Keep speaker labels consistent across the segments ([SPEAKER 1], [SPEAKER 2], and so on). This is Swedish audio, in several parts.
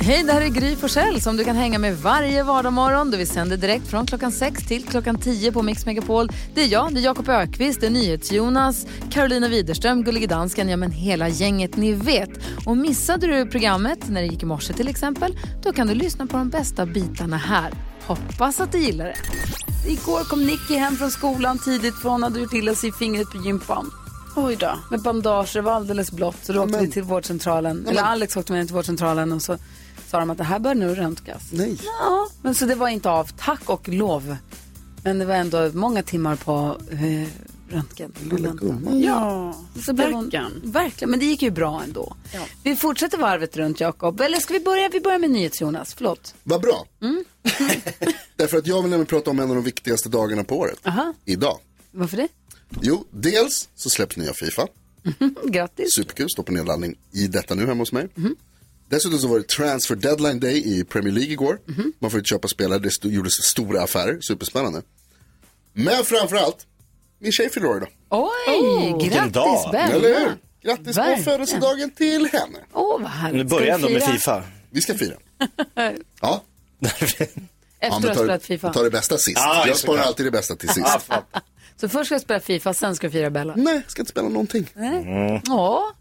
[SPEAKER 1] Hej, det här är Gry Forssell som du kan hänga med varje vardagsmorgon. Vi sänder direkt från klockan 6 till klockan 10 på Mix Megapol. Det är jag, det är Jakob Ökvist, det är NyhetsJonas, Carolina Widerström, Gullige Dansken, ja men hela gänget ni vet. Och missade du programmet när det gick i morse till exempel, då kan du lyssna på de bästa bitarna här. Hoppas att du gillar det. Igår kom Nicky hem från skolan tidigt för hon hade gjort illa sig i fingret på gympan. Oj då. Med bandager, det var alldeles blått. Så då åkte vi till vårdcentralen. Eller Alex åkte med henne till vårdcentralen och så sa de att det här bör nu röntgas.
[SPEAKER 2] Nej.
[SPEAKER 1] Ja, men så det var inte av, tack och lov. Men det var ändå många timmar på eh, röntgen.
[SPEAKER 2] Lilla gumman.
[SPEAKER 1] Ja, så blev hon, verkligen. Men det gick ju bra ändå. Vi fortsätter varvet runt, Jakob. Eller ska vi börja? Vi börjar med NyhetsJonas, förlåt.
[SPEAKER 2] Vad bra.
[SPEAKER 1] Mm.
[SPEAKER 2] Därför att jag vill nämligen prata om en av de viktigaste dagarna på året.
[SPEAKER 1] Aha,
[SPEAKER 2] Idag.
[SPEAKER 1] varför det?
[SPEAKER 2] Jo, dels så släpps nya Fifa.
[SPEAKER 1] Grattis.
[SPEAKER 2] Superkul, står på nedladdning i detta nu hemma hos mig.
[SPEAKER 1] Mhm.
[SPEAKER 2] Dessutom så var det transfer deadline day i Premier League igår.
[SPEAKER 1] Mhm.
[SPEAKER 2] Man får ju köpa spelare, det st- gjordes stora affärer, superspännande. Men framförallt, min tjej fyller år idag.
[SPEAKER 1] Oj,
[SPEAKER 3] vilken
[SPEAKER 1] grattis
[SPEAKER 3] dag.
[SPEAKER 2] Eller
[SPEAKER 1] Benna.
[SPEAKER 2] hur? Grattis på
[SPEAKER 1] Verkligen.
[SPEAKER 2] födelsedagen till henne.
[SPEAKER 1] Åh, vad härligt.
[SPEAKER 3] Nu
[SPEAKER 1] Ska vi
[SPEAKER 3] börjar ändå med
[SPEAKER 1] fira
[SPEAKER 3] Fifa.
[SPEAKER 2] Vi ska fira. Ja, ja
[SPEAKER 1] Efter att
[SPEAKER 2] men
[SPEAKER 1] ha
[SPEAKER 2] ta,
[SPEAKER 1] spelat
[SPEAKER 2] det-
[SPEAKER 1] Fifa.
[SPEAKER 2] ta det bästa sist.
[SPEAKER 3] Ja,
[SPEAKER 2] jag
[SPEAKER 3] just
[SPEAKER 2] sparar
[SPEAKER 3] det.
[SPEAKER 2] alltid det bästa till sist.
[SPEAKER 1] Så först ska jag spela Fifa, sen ska jag fira Bella.
[SPEAKER 2] Nej, jag ska inte spela någonting.
[SPEAKER 1] Ja.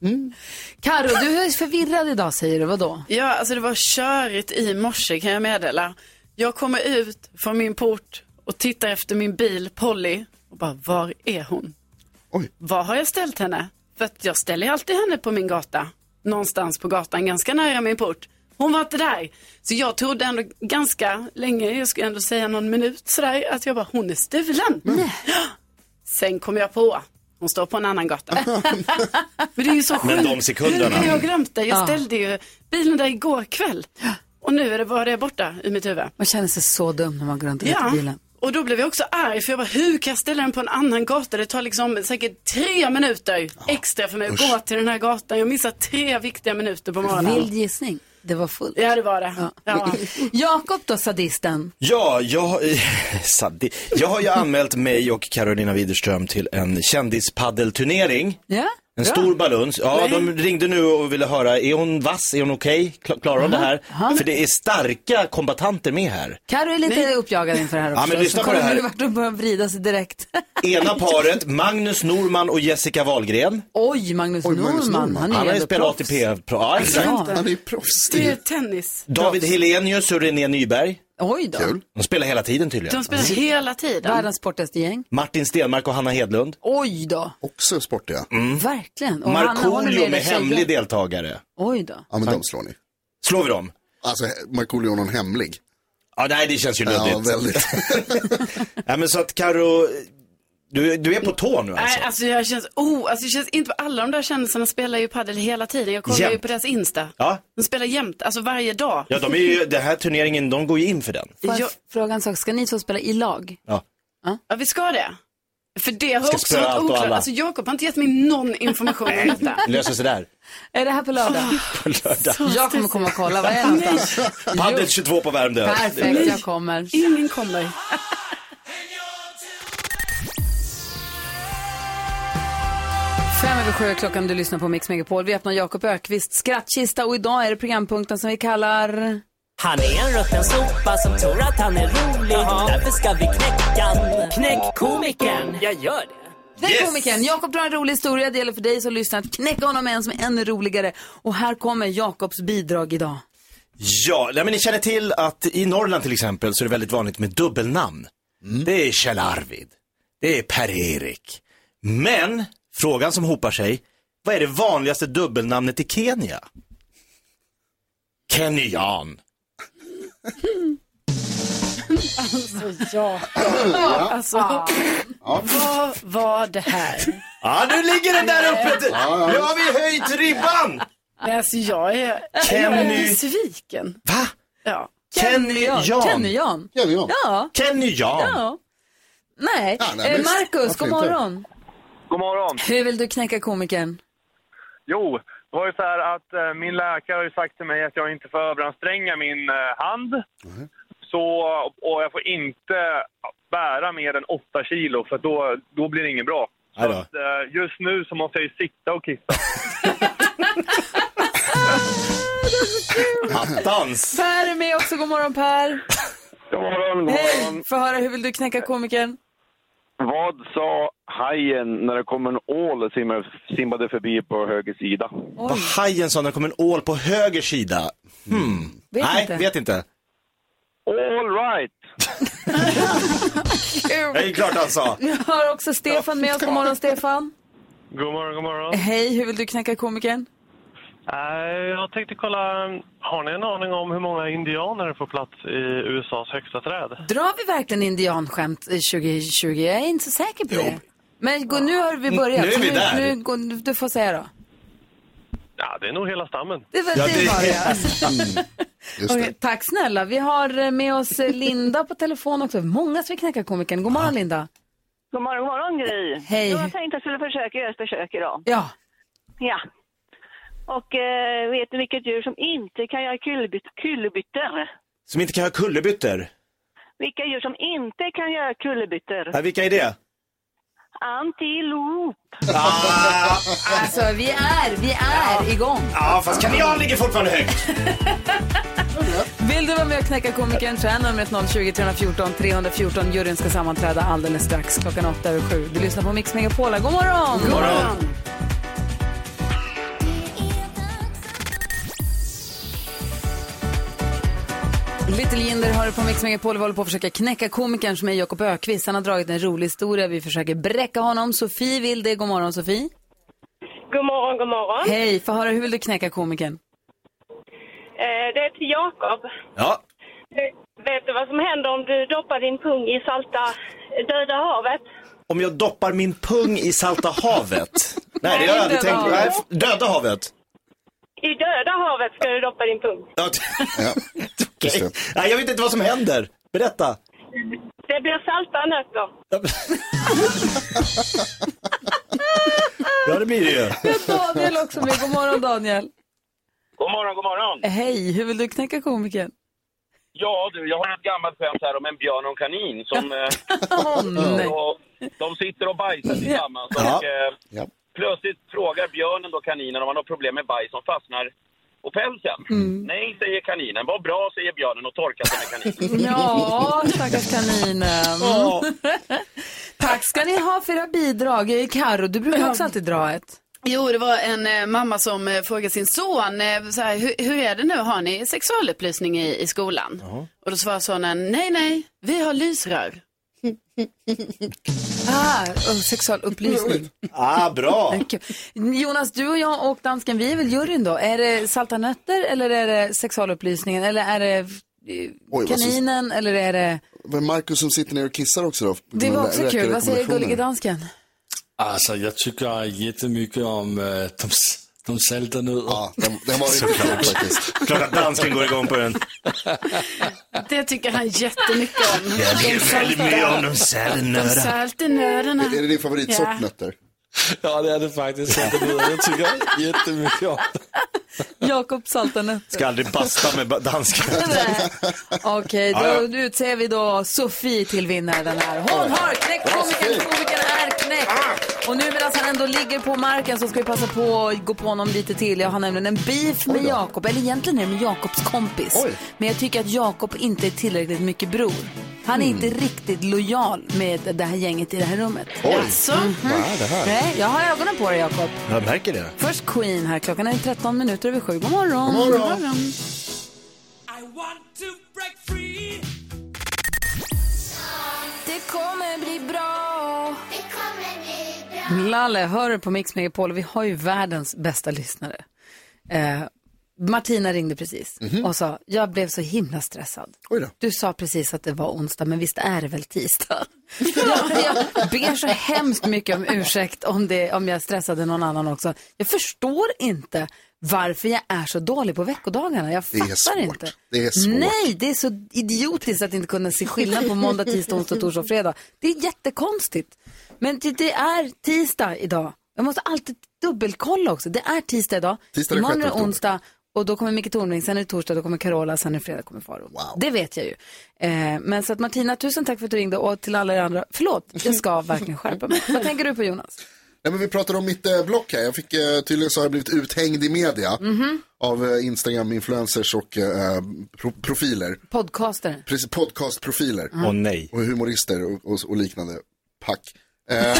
[SPEAKER 1] Karo, du är förvirrad idag säger du. Vadå?
[SPEAKER 4] Ja, alltså det var körigt i morse kan jag meddela. Jag kommer ut från min port och tittar efter min bil Polly och bara, var är hon?
[SPEAKER 2] Oj.
[SPEAKER 4] Var har jag ställt henne? För att jag ställer ju alltid henne på min gata. Någonstans på gatan, ganska nära min port. Hon var inte där. Så jag trodde ändå ganska länge, jag skulle ändå säga någon minut sådär, att jag bara, hon är stulen. Sen kom jag på, hon står på en annan gata. Men det är ju så
[SPEAKER 3] Men
[SPEAKER 4] sjukt.
[SPEAKER 3] de sekunderna.
[SPEAKER 4] Hur har jag glömt det? Jag ställde ju bilen där igår kväll. Och nu är det, var det borta i mitt huvud.
[SPEAKER 1] Man känner sig så dum när man går runt och letar bilen.
[SPEAKER 4] Och då blev jag också arg för jag bara, hur kan jag ställa den på en annan gata? Det tar liksom säkert tre minuter extra för mig att gå till den här gatan. Jag missar tre viktiga minuter på morgonen.
[SPEAKER 1] Vild gissning. Det var fullt.
[SPEAKER 4] Ja, det var det. Ja.
[SPEAKER 1] Jakob då, sadisten.
[SPEAKER 3] Ja, jag, har- Sadi- jag har ju anmält mig och Carolina Widerström till en kändispaddelturnering.
[SPEAKER 1] Ja?
[SPEAKER 3] En stor baluns. Ja, de ringde nu och ville höra, är hon vass? Är hon okej? Kla- Klarar hon det här? För det är starka kombatanter med här.
[SPEAKER 1] Karo är lite uppjagad inför det här också.
[SPEAKER 3] men lyssna
[SPEAKER 1] Så
[SPEAKER 3] på det
[SPEAKER 1] kommer
[SPEAKER 3] här.
[SPEAKER 1] du vart och börjar vrida sig direkt.
[SPEAKER 3] Ena paret, Magnus Norman och Jessica Wahlgren.
[SPEAKER 1] Oj, Magnus
[SPEAKER 2] Oj, Magnus
[SPEAKER 1] Norman.
[SPEAKER 2] Norman.
[SPEAKER 1] Han är
[SPEAKER 3] Han har ju
[SPEAKER 1] ändå
[SPEAKER 3] spelat
[SPEAKER 1] proffs.
[SPEAKER 3] ATP. Ja, exakt.
[SPEAKER 2] Han är ju proffs.
[SPEAKER 4] Det är tennis.
[SPEAKER 3] David Helenius och René Nyberg.
[SPEAKER 1] Oj då.
[SPEAKER 2] Kul.
[SPEAKER 3] De spelar hela tiden tydligen.
[SPEAKER 4] De spelar hela tiden.
[SPEAKER 1] Världens sportigaste gäng.
[SPEAKER 3] Martin Stenmark och Hanna Hedlund.
[SPEAKER 1] Oj då.
[SPEAKER 2] Också sportiga.
[SPEAKER 1] Mm. Verkligen. Och Hanna håller
[SPEAKER 3] Mm. Markoolio
[SPEAKER 1] dig,
[SPEAKER 3] med
[SPEAKER 1] tjejer.
[SPEAKER 3] hemlig deltagare.
[SPEAKER 1] Oj då.
[SPEAKER 2] Ja, men de slår ni.
[SPEAKER 3] Slår vi dem?
[SPEAKER 2] Alltså, he- Markoolio är någon hemlig.
[SPEAKER 3] Ja, nej, det känns ju
[SPEAKER 2] Ja,
[SPEAKER 3] luddigt.
[SPEAKER 2] väldigt.
[SPEAKER 3] Ja, men så att Karo, du, du är på tå nu alltså?
[SPEAKER 4] Nej, alltså jag känns, oh, alltså det känns inte, alla de där kändisarna spelar ju padel hela tiden. Jag kollar
[SPEAKER 3] Jämt.
[SPEAKER 4] ju på deras Insta.
[SPEAKER 3] Ja.
[SPEAKER 4] De spelar jämt, alltså varje dag.
[SPEAKER 3] Ja, de är ju, den här turneringen, de går ju in för den.
[SPEAKER 1] Får
[SPEAKER 4] Jag-
[SPEAKER 1] jag fråga en sak? Ska ni två spela i lag?
[SPEAKER 3] Ja.
[SPEAKER 4] Ja, vi ska det. För det har
[SPEAKER 3] Ska
[SPEAKER 4] också
[SPEAKER 3] spöa allt
[SPEAKER 4] varit
[SPEAKER 3] och
[SPEAKER 4] oklart.
[SPEAKER 3] alla.
[SPEAKER 4] Alltså Jakob har inte gett mig någon information om detta.
[SPEAKER 3] Det löser sig där.
[SPEAKER 1] Är det här på lördag?
[SPEAKER 3] På lördag.
[SPEAKER 1] Jag kommer komma och kolla. Vad är det någonstans?
[SPEAKER 3] Padel 22 på Värmdö.
[SPEAKER 1] Perfekt, jag kommer.
[SPEAKER 4] Ingen kommer.
[SPEAKER 1] Fem över sju är klockan du lyssnar på Mix Megapol. Vi öppnar Jakob Ökvists skrattkista och idag är det programpunkten som vi kallar...
[SPEAKER 5] Han är en rutten sopa som tror att han är rolig. Därför ska vi knäcka han. Knäck komikern. Jag gör det.
[SPEAKER 1] Den komikern. Jakob drar en rolig historia. Det gäller för dig som lyssnar att knäcka honom med en som är ännu roligare. Och här kommer Jakobs bidrag idag.
[SPEAKER 3] Ja, nej, men ni känner till att i Norrland till exempel så är det väldigt vanligt med dubbelnamn. Det är Kjell Arvid, det är Per-Erik. Men, frågan som hopar sig, vad är det vanligaste dubbelnamnet i Kenya? Kenyan.
[SPEAKER 4] Alltså, vad var det här?
[SPEAKER 3] Ja, nu ligger den där uppe. Nu har vi höjt ribban.
[SPEAKER 4] Nej, alltså jag är, jag är
[SPEAKER 3] Kenny.
[SPEAKER 4] besviken.
[SPEAKER 3] Va?
[SPEAKER 4] Ja.
[SPEAKER 3] Kenny
[SPEAKER 1] Kenny
[SPEAKER 3] Jan.
[SPEAKER 1] Jan.
[SPEAKER 2] ja, det är jag.
[SPEAKER 1] Ja.
[SPEAKER 3] Kenny Jan.
[SPEAKER 1] ja. Nej.
[SPEAKER 2] Ja,
[SPEAKER 1] Eh,
[SPEAKER 2] nej, men-
[SPEAKER 1] Marcus,
[SPEAKER 2] varför
[SPEAKER 1] god
[SPEAKER 2] inte?
[SPEAKER 1] morgon.
[SPEAKER 6] God morgon.
[SPEAKER 1] Hur vill du knäcka komikern?
[SPEAKER 6] Jo, det var ju så här att eh, min läkare har ju sagt till mig att jag inte får överanstränga min eh, hand. Så, och jag får inte bära mer än 8 kilo för då, då blir det inget bra.
[SPEAKER 3] Aj då.
[SPEAKER 6] Så, eh, just nu så måste jag ju sitta och kissa.
[SPEAKER 3] Attans!
[SPEAKER 1] Per är med också. God morgon Per.
[SPEAKER 6] God morgon, god
[SPEAKER 1] Hej.
[SPEAKER 6] morgon.
[SPEAKER 1] Få höra, hur vill du knäcka komikern?
[SPEAKER 6] Vad sa hajen när det kom en ål och simmade, simmade förbi på höger sida?
[SPEAKER 3] Vad hajen sa när det kom en ål på höger sida. Hmm.
[SPEAKER 1] Vet
[SPEAKER 3] Nej,
[SPEAKER 1] inte.
[SPEAKER 3] vet inte.
[SPEAKER 6] All right!
[SPEAKER 3] Det är ju klart han sa.
[SPEAKER 1] Vi har också Stefan med oss. God morgon Stefan.
[SPEAKER 6] God morgon, god morgon.
[SPEAKER 1] Hej, hur vill du knäcka komikern?
[SPEAKER 6] Eh, Jag tänkte kolla, har ni en aning om hur många indianer det får plats i USAs högsta träd?
[SPEAKER 1] Drar vi verkligen indianskämt i 2020? Jag är inte så säker på det. Men gå, nu har vi börjat.
[SPEAKER 3] Nu är
[SPEAKER 1] så
[SPEAKER 3] vi där.
[SPEAKER 1] Nu, går- du får säga då.
[SPEAKER 6] Ja, det är nog hela stammen.
[SPEAKER 1] Det var
[SPEAKER 3] Ja,
[SPEAKER 1] det
[SPEAKER 3] det-
[SPEAKER 1] var det. Alltså.
[SPEAKER 2] Just
[SPEAKER 1] Okej, tack snälla. Vi har eh, med oss eh, Linda på telefon också. Många som vill knäcka komikern. God morgon Linda.
[SPEAKER 7] God morgon, god morgon Gry.
[SPEAKER 1] Hej.
[SPEAKER 7] Jag tänkte jag skulle försöka göra ett försök idag.
[SPEAKER 1] Ja,
[SPEAKER 7] Ja. Och eh, vet ni vilket djur som inte kan göra kullerbyt- kullerbyttor?
[SPEAKER 3] Som inte kan ha kullerbyttor.
[SPEAKER 7] Vilka djur som inte kan göra kullerbyttor?
[SPEAKER 3] Nej, vilka är det?
[SPEAKER 7] Antilop.
[SPEAKER 3] Ah,
[SPEAKER 1] alltså vi är, vi är igång.
[SPEAKER 3] ah, fast kaninen ligger fortfarande högt.
[SPEAKER 1] Vill du vara med och knäcka komikern så är numret 020 314 314. Juryn ska sammanträda alldeles strax klockan 8 över 7. Du lyssnar på Mix Megapola. God morgon! God
[SPEAKER 3] morgon.
[SPEAKER 1] Little Jinder har du på Mix Megapol. Vi håller på att försöka knäcka komikern som är Jakob Ökvist. Han har dragit en rolig historia. Vi försöker bräcka honom. Sofie vill det. God morgon Sofie.
[SPEAKER 8] God morgon, god morgon.
[SPEAKER 1] Hej, få höra hur vill du knäcka komikern?
[SPEAKER 8] Eh, det är till Jakob. Eh,
[SPEAKER 3] Ja,
[SPEAKER 8] Vet du vad som händer om du doppar din pung i salta eh, Döda havet?
[SPEAKER 3] om jag doppar min pung i salta havet. Nej, det har jag aldrig
[SPEAKER 1] Döda
[SPEAKER 3] tänkt. Nej,
[SPEAKER 1] havet.
[SPEAKER 3] Döda havet.
[SPEAKER 8] I döda havet ska du doppa din pung.
[SPEAKER 3] Ja,
[SPEAKER 2] Ja. Just
[SPEAKER 3] okej.
[SPEAKER 2] det.
[SPEAKER 3] Nej, jag vet inte vad som händer. Berätta.
[SPEAKER 8] Det blir salta nötter.
[SPEAKER 3] Ja, det blir det ju.
[SPEAKER 1] Daniel också med. God morgon Daniel.
[SPEAKER 6] God morgon, god morgon.
[SPEAKER 1] Hej, hur vill du knäcka komikern?
[SPEAKER 6] Ja, du, jag har ett gammalt skämt här om en björn och en kanin som... eh,
[SPEAKER 1] Åh nej.
[SPEAKER 6] och, de sitter och bajsar tillsammans
[SPEAKER 3] Ja.
[SPEAKER 6] och eh,
[SPEAKER 2] Ja.
[SPEAKER 6] plötsligt frågar björnen då kaninen om han har problem med bajs som fastnar på pälsen.
[SPEAKER 1] Mm.
[SPEAKER 6] Nej, säger kaninen. Vad bra, säger björnen och torkar sig med kaninen.
[SPEAKER 1] Ja, stackars kaninen.
[SPEAKER 3] Ja.
[SPEAKER 1] Tack ska ni ha för era bidrag. Karo, du brukar också alltid dra ett.
[SPEAKER 4] Jo, det var en eh, mamma som eh, frågade sin son, eh, så här, hur, hur är det nu, har ni sexualupplysning i, i skolan? Och då svarade sonen, nej, nej, vi har lysrör.
[SPEAKER 1] Ah, oh, sexualupplysning.
[SPEAKER 3] Ah, bra.
[SPEAKER 1] Kul. Jonas, du och jag och dansken, vi är väl juryn då. Är det salta nötter eller är det sexualupplysningen eller är det eh,
[SPEAKER 2] vad så-
[SPEAKER 1] kaninen eller är det...
[SPEAKER 2] Var det Marcus som sitter ner och kissar också då?
[SPEAKER 1] Det var också
[SPEAKER 2] Räcker
[SPEAKER 1] kul. Vad säger
[SPEAKER 2] rekommendationer?
[SPEAKER 1] gullige dansken?
[SPEAKER 9] Altså, jeg tykker Alltså, jättemycket om øh, de, de salter ned.
[SPEAKER 2] Ja, den, den var riktigt kul faktiskt.
[SPEAKER 3] Klart att dansken går igång på den.
[SPEAKER 4] Det tycker han jättemycket om.
[SPEAKER 3] Jag vill följa med om de
[SPEAKER 4] De
[SPEAKER 3] sälnöra.
[SPEAKER 4] salt i nöderna.
[SPEAKER 2] Är det din favoritsort
[SPEAKER 4] Ja.
[SPEAKER 2] nötter?
[SPEAKER 9] Ja, det er det faktisk. Salter ned. Jeg tykker jättemycket om det.
[SPEAKER 1] Jakob salta nötter.
[SPEAKER 3] Ska aldrig basta med ba- dansken.
[SPEAKER 1] Nej. Okej,
[SPEAKER 3] Ja,
[SPEAKER 1] då
[SPEAKER 3] ja.
[SPEAKER 1] nu utser vi då Sofie till vinnaren här. Hon har knäckt komikern, komikern är
[SPEAKER 3] Ah.
[SPEAKER 1] knäckt. Och nu medan han ändå ligger på marken så ska vi passa på att gå på honom lite till. Jag har nämligen en beef med Jakob, eller egentligen är det med Jakobs kompis.
[SPEAKER 2] Oj.
[SPEAKER 1] Men jag tycker att Jakob inte är tillräckligt mycket bror. Han är
[SPEAKER 3] Mm.
[SPEAKER 1] inte riktigt lojal med det här gänget i det här rummet.
[SPEAKER 4] Alltså,
[SPEAKER 2] Vad är det här?
[SPEAKER 1] Nej, jag har ögonen på dig Jakob.
[SPEAKER 3] Jag märker det.
[SPEAKER 1] Först Queen här, klockan är 13 minuter över sju. God morgon. God morgon. Det kommer bli bra. Lalle, hör du på Mix Megapol? Vi har ju världens bästa lyssnare. Eh, Martina ringde precis och sa, jag blev så himla stressad.
[SPEAKER 2] Oj då.
[SPEAKER 1] Du sa precis att det var onsdag, men visst är det väl tisdag? jag, jag ber så hemskt mycket om ursäkt om, det, om jag stressade någon annan också. Jag förstår inte varför jag är så dålig på veckodagarna. Jag
[SPEAKER 2] Det
[SPEAKER 1] fattar
[SPEAKER 2] är svårt.
[SPEAKER 1] inte.
[SPEAKER 2] Det är svårt.
[SPEAKER 1] Nej, det är så idiotiskt att inte kunna se skillnad på måndag, tisdag, onsdag, torsdag och fredag. Det är jättekonstigt. Men det, det är tisdag idag. Jag måste alltid dubbelkolla också. Det är tisdag idag.
[SPEAKER 2] Tisdag den
[SPEAKER 1] Imorgon är det
[SPEAKER 2] sjätte oktober.
[SPEAKER 1] onsdag och då kommer Micke Tornving, sen är det torsdag, då kommer Carola, sen är det fredag, kommer Faro.
[SPEAKER 2] Wow.
[SPEAKER 1] Det vet jag ju. Eh, men så att Martina, tusen tack för att du ringde och till alla er andra, förlåt, jag ska verkligen skärpa mig. Vad tänker du på Jonas?
[SPEAKER 2] Nej, men vi pratade om mitt eh, block här. Jag fick, eh, tydligen så har jag blivit uthängd i media
[SPEAKER 1] Mhm.
[SPEAKER 2] av eh, Instagram-influencers och eh, pro- profiler.
[SPEAKER 1] Podcastare.
[SPEAKER 2] Precis, podcastprofiler.
[SPEAKER 1] Mm.
[SPEAKER 3] Åh nej.
[SPEAKER 2] och humorister och, och, och liknande pack. Eh,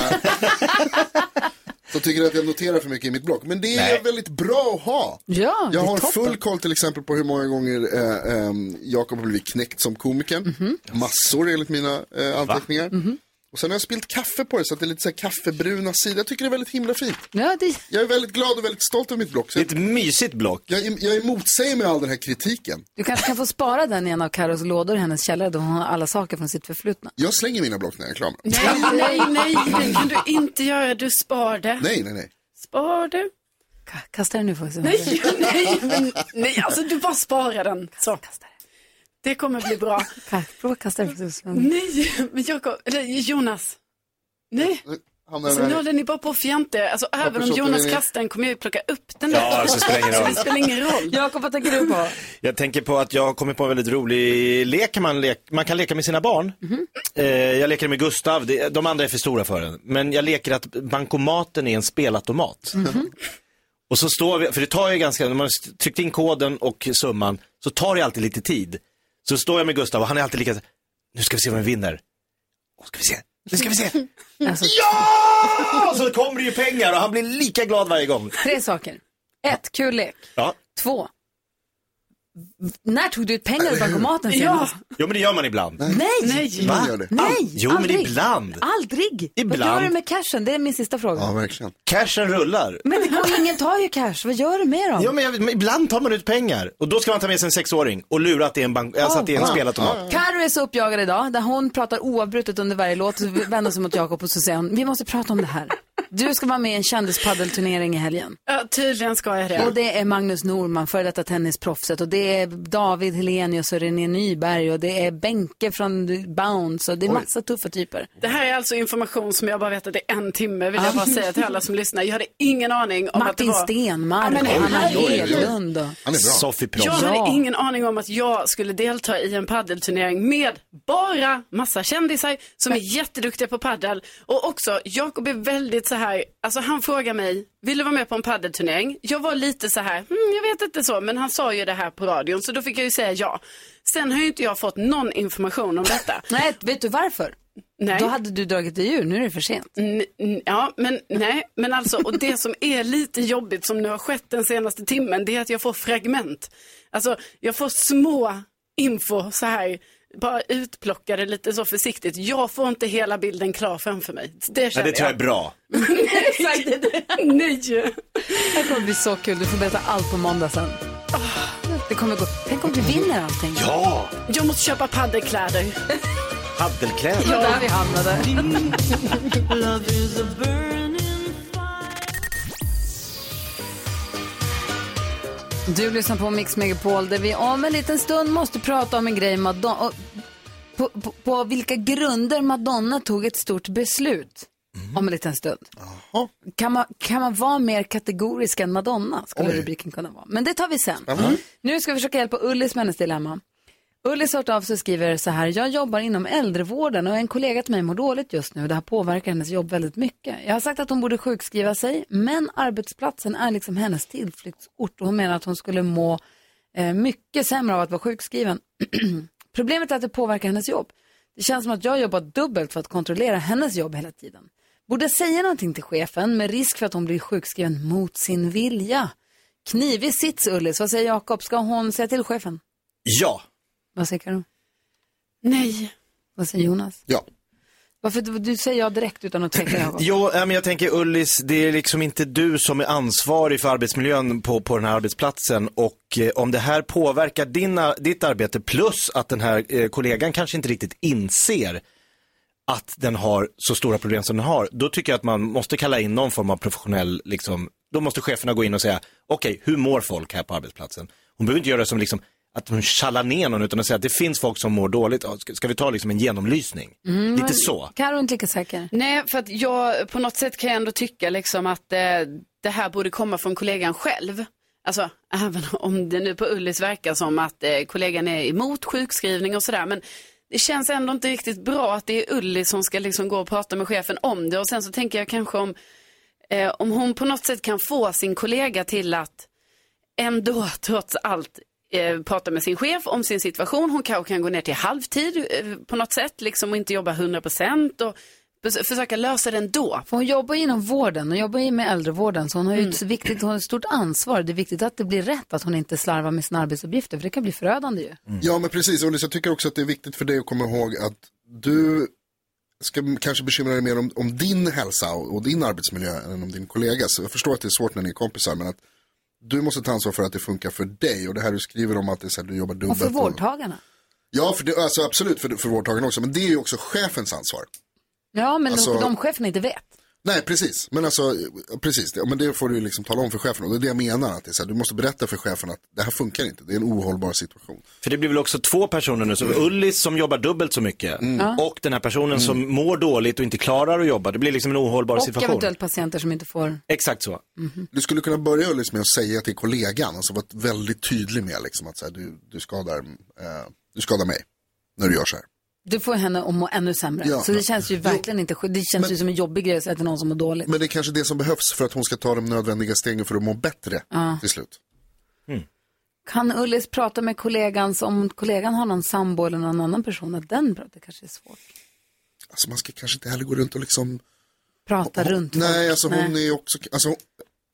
[SPEAKER 2] så tycker jag att jag noterar för mycket i mitt blogg. Men det är
[SPEAKER 3] Nej.
[SPEAKER 2] väldigt bra att ha.
[SPEAKER 1] Ja,
[SPEAKER 2] Jag
[SPEAKER 1] det är
[SPEAKER 2] har
[SPEAKER 1] toppen.
[SPEAKER 2] full koll till exempel på hur många gånger eh, eh, Jakob har blivit knäckt som komiker.
[SPEAKER 1] Mhm.
[SPEAKER 2] Massor enligt mina eh, anteckningar. Och sen har jag spilt kaffe på det så att det är lite så här kaffebruna sidor. Jag tycker det är väldigt himla fint.
[SPEAKER 1] Ja, det...
[SPEAKER 2] Jag är väldigt glad och väldigt stolt över mitt blogg. Så
[SPEAKER 3] Det är
[SPEAKER 2] jag,
[SPEAKER 3] ett mysigt block.
[SPEAKER 2] jag, jag emotsäger mig all den här kritiken.
[SPEAKER 1] Du kanske kan få spara den i en av Carros lådor i hennes källare där hon har alla saker från sitt förflutna.
[SPEAKER 2] Jag slänger mina block när jag är klar med dem.
[SPEAKER 4] Nej, nej, nej, det kan du inte göra. Du spar det.
[SPEAKER 2] Nej, nej, nej.
[SPEAKER 4] Spar det.
[SPEAKER 1] Ka- Kasta den nu får vi se.
[SPEAKER 4] Nej, nej, men, nej, alltså du bara sparar den. Så. Det kommer bli bra.
[SPEAKER 1] Ka- Prova kasta den. får vi se.
[SPEAKER 4] Nej, men Jakob, eller Jonas. Nej,
[SPEAKER 2] Nu hamnar
[SPEAKER 4] så
[SPEAKER 1] Alltså,
[SPEAKER 2] den
[SPEAKER 4] nu
[SPEAKER 2] här-
[SPEAKER 4] håller ni bara på och fjantar. Alltså även om
[SPEAKER 2] försöker
[SPEAKER 4] Jonas
[SPEAKER 2] ni-
[SPEAKER 4] kastar den kommer jag ju plocka upp den
[SPEAKER 3] Ja, alltså, det spelar ingen
[SPEAKER 4] Så
[SPEAKER 3] roll.
[SPEAKER 4] det spelar ingen roll.
[SPEAKER 1] Jakob, vad tänker du på?
[SPEAKER 3] Jag tänker på att jag har kommit på en väldigt rolig lek man, lek, man kan leka med sina barn. Eh, jag leker med Gustav, det, de andra är för stora för den. Men jag leker att bankomaten är en spelautomat. Och så står vi, för det tar ju ganska, när man har tryckt in koden och summan, så tar det alltid lite tid. Så står jag med Gustav och han är alltid lika, nu ska vi se vem vi vinner. Nu ska vi se, nu ska vi se.
[SPEAKER 1] Alltså,
[SPEAKER 3] Ja! Och så kommer det ju pengar och han blir lika glad varje gång.
[SPEAKER 1] tre saker. Ett, kul lek.
[SPEAKER 3] Ja,
[SPEAKER 1] Två, v- när tog du ut pengar ur bankomaten
[SPEAKER 4] Ja,
[SPEAKER 1] senast?
[SPEAKER 3] jo men det gör man ibland.
[SPEAKER 1] Nej!
[SPEAKER 4] nej.
[SPEAKER 2] Man gör det.
[SPEAKER 1] Nej,
[SPEAKER 3] Ah, Jo, men
[SPEAKER 1] aldrig.
[SPEAKER 3] ibland.
[SPEAKER 1] Aldrig. Vad
[SPEAKER 3] Ibland.
[SPEAKER 1] gör du med cashen? Det är min sista fråga.
[SPEAKER 2] Ja, verkligen.
[SPEAKER 3] Cashen rullar.
[SPEAKER 1] Men det går ju, ingen tar ju cash. Vad gör du med dem?
[SPEAKER 3] Ja, men, jag, men ibland tar man ut pengar och då ska man ta med sig en sexåring och lura att det är en, bank, alltså att
[SPEAKER 2] Ah.
[SPEAKER 3] det är en spelautomat.
[SPEAKER 1] Carro är så uppjagad idag, där hon pratar oavbrutet under varje låt, så vänder sig mot Jakob och så säger hon, vi måste prata om det här. Du ska vara med i en kändispaddelturnering i helgen.
[SPEAKER 4] Ja, tydligen ska jag
[SPEAKER 1] Och
[SPEAKER 4] det.
[SPEAKER 1] det är Magnus Norman, före detta tennisproffset, och det är David Helenius och René Nyberg, och det är Benke från Bounce, och det är massa tuffa typer.
[SPEAKER 4] Det här är alltså information som jag bara vet att det är en timme, vill jag bara säga till alla som lyssnar. Jag hade ingen aning om att det
[SPEAKER 1] Martin
[SPEAKER 4] var...
[SPEAKER 1] Stenmarck,
[SPEAKER 4] Ja, men
[SPEAKER 1] och Hanna
[SPEAKER 4] herregud.
[SPEAKER 1] Hedlund och...
[SPEAKER 2] Han är bra.
[SPEAKER 3] Soffie Proffs.
[SPEAKER 4] Jag
[SPEAKER 1] Ja.
[SPEAKER 4] hade ingen aning om att jag skulle delta i en paddelturnering med bara massa kändisar som är jätteduktiga på paddel. Och också, Jakob är väldigt så här, alltså han frågar mig, vill du vara med på en paddelturnering? Jag var lite så här, hmm, jag vet inte så, men han sa ju det här på radion, så då fick jag ju säga ja. Sen har ju inte jag fått någon information om detta.
[SPEAKER 1] Nej, vet du varför?
[SPEAKER 4] Nej. Mm.
[SPEAKER 1] Då hade du dragit dig ur, nu är det för sent.
[SPEAKER 4] N- n- Ja, men nej, men alltså, och det som är lite jobbigt som nu har skett den senaste timmen, det är att jag får fragment. Alltså, jag får små info så här, bara utplockade lite så försiktigt. Jag får inte hela bilden klar framför mig. Det
[SPEAKER 3] Nej,
[SPEAKER 4] känner
[SPEAKER 3] det tror jag är
[SPEAKER 4] jag.
[SPEAKER 3] bra.
[SPEAKER 4] Nej.
[SPEAKER 1] Det kommer bli så kul, du får berätta allt på måndag sen.
[SPEAKER 4] Ah.
[SPEAKER 1] Det kommer gå... Tänk om du vinner allting.
[SPEAKER 3] Ja,
[SPEAKER 4] Jag måste köpa paddelkläder.
[SPEAKER 3] paddelkläder.
[SPEAKER 1] Det var där vi hamnade. Du lyssnar på Mix Megapol där vi om en liten stund måste prata om en grej Madonna, och på, på, på vilka grunder Madonna tog ett stort beslut om en liten stund. Kan man, kan man vara mer kategorisk än Madonna skulle
[SPEAKER 2] Oj.
[SPEAKER 1] rubriken kunna vara. Men det tar vi sen. Nu ska vi försöka hjälpa Ullis med hennes dilemma. Ullis har hört av sig och skriver så här, jag jobbar inom äldrevården och en kollega till mig mår dåligt just nu och det här påverkar hennes jobb väldigt mycket. Jag har sagt att hon borde sjukskriva sig, men arbetsplatsen är liksom hennes tillflyktsort och hon menar att hon skulle må eh, mycket sämre av att vara sjukskriven. Problemet är att det påverkar hennes jobb. Det känns som att jag jobbar dubbelt för att kontrollera hennes jobb hela tiden. Borde jag säga någonting till chefen med risk för att hon blir sjukskriven mot sin vilja? Knivig sits Ullis, vad säger Jakob? Ska hon säga till chefen?
[SPEAKER 3] Ja,
[SPEAKER 1] Vad säger Karo?
[SPEAKER 4] Nej.
[SPEAKER 1] Vad säger Jonas?
[SPEAKER 2] Ja.
[SPEAKER 1] Varför du, du säger jag direkt utan att tänka Jakob?
[SPEAKER 3] jo, äh, men jag tänker Ullis, det är liksom inte du som är ansvarig för arbetsmiljön på, på den här arbetsplatsen och eh, om det här påverkar din, ar- ditt arbete plus att den här eh, kollegan kanske inte riktigt inser att den har så stora problem som den har, då tycker jag att man måste kalla in någon form av professionell, liksom, då måste cheferna gå in och säga, okej, hur mår folk här på arbetsplatsen? Hon behöver inte göra det som liksom, att hon tjallar ner någon, utan att säga att det finns folk som mår dåligt, Ja, ska, ska vi ta liksom en genomlysning? Lite så.
[SPEAKER 1] Karo är inte lika säker.
[SPEAKER 4] Nej, för att jag på något sätt kan jag ändå tycka liksom att eh, det här borde komma från kollegan själv. Alltså, även om det nu på Ullis verkar som att eh, kollegan är emot sjukskrivning och sådär. Men det känns ändå inte riktigt bra att det är Ulli som ska liksom gå och prata med chefen om det. Och sen så tänker jag kanske om eh, om hon på något sätt kan få sin kollega till att ändå trots allt eh, prata med sin chef om sin situation. Hon kanske kan gå ner till halvtid eh, på något sätt liksom, och inte jobba 100% och förs- försöka lösa det ändå.
[SPEAKER 1] För hon jobbar ju inom vården och jobbar ju med äldrevården så hon har ju ett, viktigt, hon har ett stort ansvar. Det är viktigt att det blir rätt, att hon inte slarvar med sina arbetsuppgifter för det kan bli förödande ju.
[SPEAKER 2] Ja, men precis. Ullis, jag tycker också att det är viktigt för dig att komma ihåg att du ska m- kanske bekymra dig mer om, om din hälsa och, och din arbetsmiljö än om din kollegas. Jag förstår att det är svårt när ni är kompisar, men att du måste ta ansvar för att det funkar för dig. Och det här du skriver om att det är så här, du jobbar dubbelt.
[SPEAKER 1] Och för vårdtagarna.
[SPEAKER 2] Ja, för det, alltså, absolut för, för vårdtagarna också, men det är ju också chefens ansvar.
[SPEAKER 1] Ja, men
[SPEAKER 2] Alltså-
[SPEAKER 1] de, de cheferna inte vet.
[SPEAKER 2] Nej, precis. Men alltså, precis. Det- Men det får du ju liksom tala om för chefen. Och det är det jag menar. Att det är så här, du måste berätta för chefen att det här funkar inte. Det är en ohållbar situation.
[SPEAKER 3] För det blir väl också två personer nu, så
[SPEAKER 9] Mm.
[SPEAKER 3] Ullis som jobbar dubbelt så mycket och den här personen som mår dåligt och inte klarar att jobba. Det blir liksom en ohållbar
[SPEAKER 1] Och
[SPEAKER 3] situation.
[SPEAKER 1] eventuellt patienter som inte får.
[SPEAKER 3] Exakt så.
[SPEAKER 2] Du skulle kunna börja Ullis med att säga till kollegan, alltså vara väldigt tydlig med liksom, att så här, du, du, skadar, eh, du skadar mig när du gör så här.
[SPEAKER 1] Du får henne att må ännu sämre.
[SPEAKER 2] Ja.
[SPEAKER 1] så det känns ju verkligen inte, sk- det känns ju som en jobbig grej att säga till någon som mår dåligt.
[SPEAKER 2] Men det är kanske det som behövs för att hon ska ta de nödvändiga stegen för att må bättre till slut.
[SPEAKER 1] Kan Ullis prata med kollegan, så om kollegan har någon sambo eller någon annan person, att den pratar, det kanske är svårt.
[SPEAKER 2] Alltså man ska kanske inte heller gå runt och liksom...
[SPEAKER 1] Prata runt
[SPEAKER 2] Nej,
[SPEAKER 1] folk.
[SPEAKER 2] alltså hon är också... Alltså,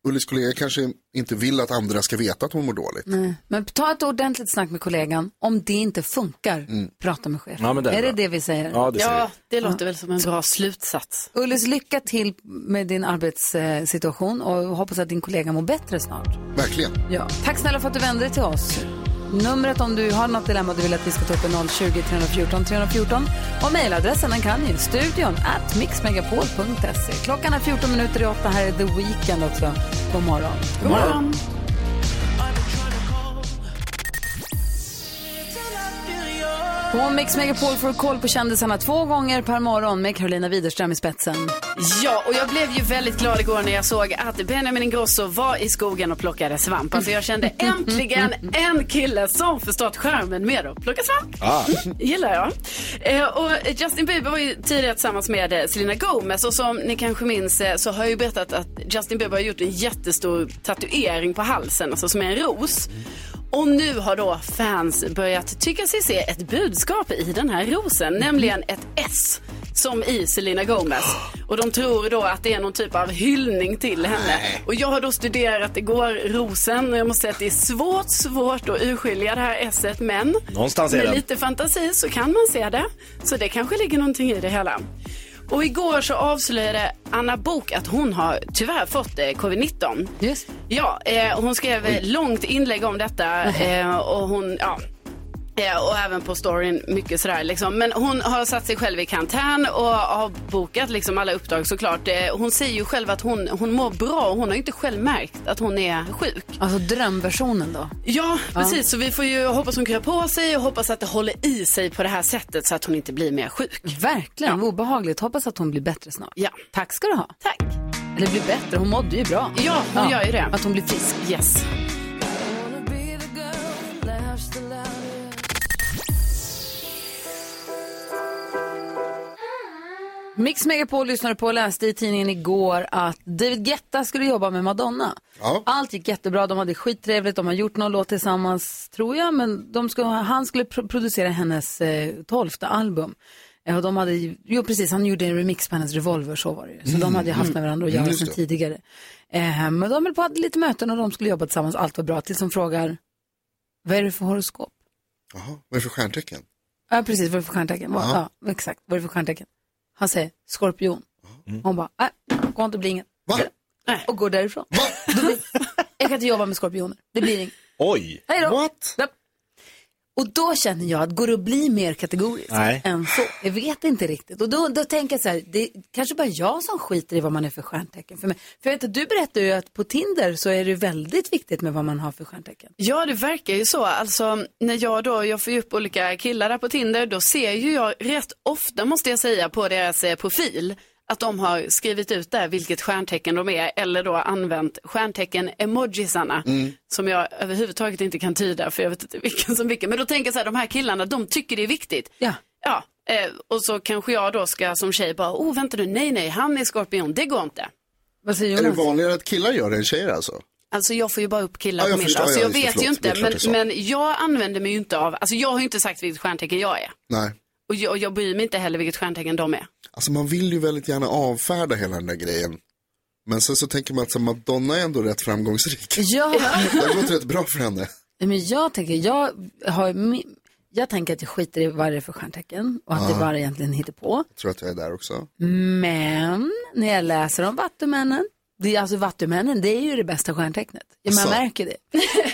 [SPEAKER 2] Ullis kollega kanske inte vill att andra ska veta att hon mår dåligt.
[SPEAKER 1] Nej. Men ta ett ordentligt snack med kollegan. Om det inte funkar, prata med chefen.
[SPEAKER 3] Mm. Ja, men det är
[SPEAKER 1] är det
[SPEAKER 3] bra.
[SPEAKER 1] det vi säger?
[SPEAKER 3] Ja, det säger
[SPEAKER 4] Ja, det låter väl som en bra slutsats.
[SPEAKER 1] Ullis, lycka till med din arbetssituation och hoppas att din kollega mår bättre snart.
[SPEAKER 2] Verkligen.
[SPEAKER 1] Ja. Tack snälla för att du vände dig till oss. Numret om du har något dilemma du vill att vi ska ta upp är 020 314 314. Och mejladressen den kan ni, studion at mixmegapol.se. Klockan är 14 minuter i åtta, här är The Weeknd också. God morgon.
[SPEAKER 4] God morgon.
[SPEAKER 1] På Mix Megapol får du koll på kändisarna två gånger per morgon med Carolina Widerström i spetsen.
[SPEAKER 4] Ja, och jag blev ju väldigt glad igår när jag såg att Benjamin Ingrosso var i skogen och plockade svamp. Alltså jag kände äntligen en kille som förstått skärmen med att plocka svamp. Gillar jag. Eh, och Justin Bieber var ju tidigare tillsammans med eh, Selena Gomez och som ni kanske minns eh, så har jag ju berättat att Justin Bieber har gjort en jättestor tatuering på halsen, alltså som är en ros. Och nu har då fans börjat tycka sig se ett budskap i den här rosen, nämligen ett S som i Selena Gomez. Och de tror då att det är någon typ av hyllning till henne. Och jag har då studerat igår rosen och jag måste säga att det är svårt, svårt att urskilja det här S men
[SPEAKER 3] Någonstans är
[SPEAKER 4] med
[SPEAKER 3] den.
[SPEAKER 4] lite fantasi så kan man se det. Så det kanske ligger någonting i det hela. Och igår så avslöjade Anna Bok att hon har tyvärr fått eh, covid-19.
[SPEAKER 1] Just.
[SPEAKER 4] Ja, eh, hon skrev eh, långt inlägg om detta eh, och hon, ja. Eh, Och även på storyn, mycket sådär liksom. Men hon har satt sig själv i karantän och har bokat liksom alla uppdrag såklart. Eh, Hon säger ju själv att hon, hon mår bra och hon har ju inte själv märkt att hon är sjuk.
[SPEAKER 1] Alltså drömversionen då.
[SPEAKER 4] Ja, precis. Så vi får ju hoppas hon kryar på sig och hoppas att det håller i sig på det här sättet så att hon inte blir mer sjuk.
[SPEAKER 1] Verkligen vad obehagligt. Hoppas att hon blir bättre snart.
[SPEAKER 4] Ja.
[SPEAKER 1] Tack ska du ha.
[SPEAKER 4] Tack.
[SPEAKER 1] Eller blir bättre, hon mådde ju bra.
[SPEAKER 4] Ja, hon gör ju det.
[SPEAKER 1] Att hon blir frisk.
[SPEAKER 4] Yes.
[SPEAKER 1] Mix Megapol lyssnade på och läste i tidningen igår att David Guetta skulle jobba med Madonna.
[SPEAKER 2] Ja.
[SPEAKER 1] Allt gick jättebra, de hade skittrevligt, de har gjort någon låt tillsammans tror jag, men de ska, han skulle pro- producera hennes eh, tolfte album. Eh, och de hade, ju- jo precis, han gjorde en remix på hennes Revolver, så var det ju. Så de hade ju haft med varandra att göra
[SPEAKER 2] Mm, just
[SPEAKER 1] sedan
[SPEAKER 2] det.
[SPEAKER 1] tidigare. Eh, men de höll på och hade lite möten och de skulle jobba tillsammans, allt var bra, tills de frågar, vad är det för horoskop?
[SPEAKER 2] Jaha, vad är det för stjärntecken?
[SPEAKER 1] Ja, precis. Vad är det för stjärntecken? Vad-
[SPEAKER 2] Ja.
[SPEAKER 1] Ja, exakt. Vad är det för stjärntecken? Han säger skorpion. Hon bara, nej, går inte att bli inget.
[SPEAKER 2] Mm. Va?
[SPEAKER 1] Och går därifrån. Då blir, jag kan inte jobba med skorpioner. Det blir inget.
[SPEAKER 3] Oj!
[SPEAKER 1] Hej då.
[SPEAKER 2] What?
[SPEAKER 1] Ja. Och då känner jag att går det att bli mer kategorisk
[SPEAKER 3] Nej.
[SPEAKER 1] än så? Jag vet inte riktigt. Och då, då tänker jag så här, det är kanske bara jag som skiter i vad man är för stjärntecken. För, mig. för jag vet att du berättar ju att på Tinder så är det ju väldigt viktigt med vad man har för stjärntecken.
[SPEAKER 4] Ja, det verkar ju så. Alltså, när jag då, jag får ju upp olika killar där på Tinder, då ser ju jag rätt ofta, måste jag säga, på deras eh, profil att de har skrivit ut där vilket stjärntecken de är eller då använt stjärntecken-emojisarna som jag överhuvudtaget inte kan tyda för jag vet inte vilken som vilken. Men då tänker jag så här, de här killarna, de tycker det är viktigt.
[SPEAKER 1] Ja.
[SPEAKER 4] Ja, eh, och så kanske jag då ska som tjej bara, oh vänta nu, nej nej, han är skorpion, det går inte.
[SPEAKER 1] Vad säger
[SPEAKER 2] Är det
[SPEAKER 1] Jonas?
[SPEAKER 2] vanligare att killar gör det än tjejer alltså?
[SPEAKER 4] Alltså jag får ju bara upp killar
[SPEAKER 2] Ja, jag
[SPEAKER 4] på min
[SPEAKER 2] förstår.
[SPEAKER 4] alltså,
[SPEAKER 2] Ja,
[SPEAKER 4] jag
[SPEAKER 2] just det.
[SPEAKER 4] vet
[SPEAKER 2] Förlåt.
[SPEAKER 4] ju
[SPEAKER 2] Det
[SPEAKER 4] inte.
[SPEAKER 2] är klart det är så.
[SPEAKER 4] Men, men jag använder mig ju inte av, alltså jag har ju inte sagt vilket stjärntecken jag är.
[SPEAKER 2] Nej.
[SPEAKER 4] Och jag, jag bryr mig inte heller vilket stjärntecken de är.
[SPEAKER 2] Alltså man vill ju väldigt gärna avfärda hela den där grejen. Men sen så tänker man att så Madonna är ändå rätt framgångsrik.
[SPEAKER 1] Ja,
[SPEAKER 2] Det har gått rätt bra för henne.
[SPEAKER 1] men jag tänker, jag, har, mi- jag tänker att jag skiter i vad det är för stjärntecken och att det bara egentligen hittar på.
[SPEAKER 2] Jag tror att jag är där också.
[SPEAKER 1] Men när jag läser om Vattumännen, det är alltså Vattumännen, det är ju det bästa stjärntecknet. Ja, man
[SPEAKER 2] Asså?
[SPEAKER 1] märker det.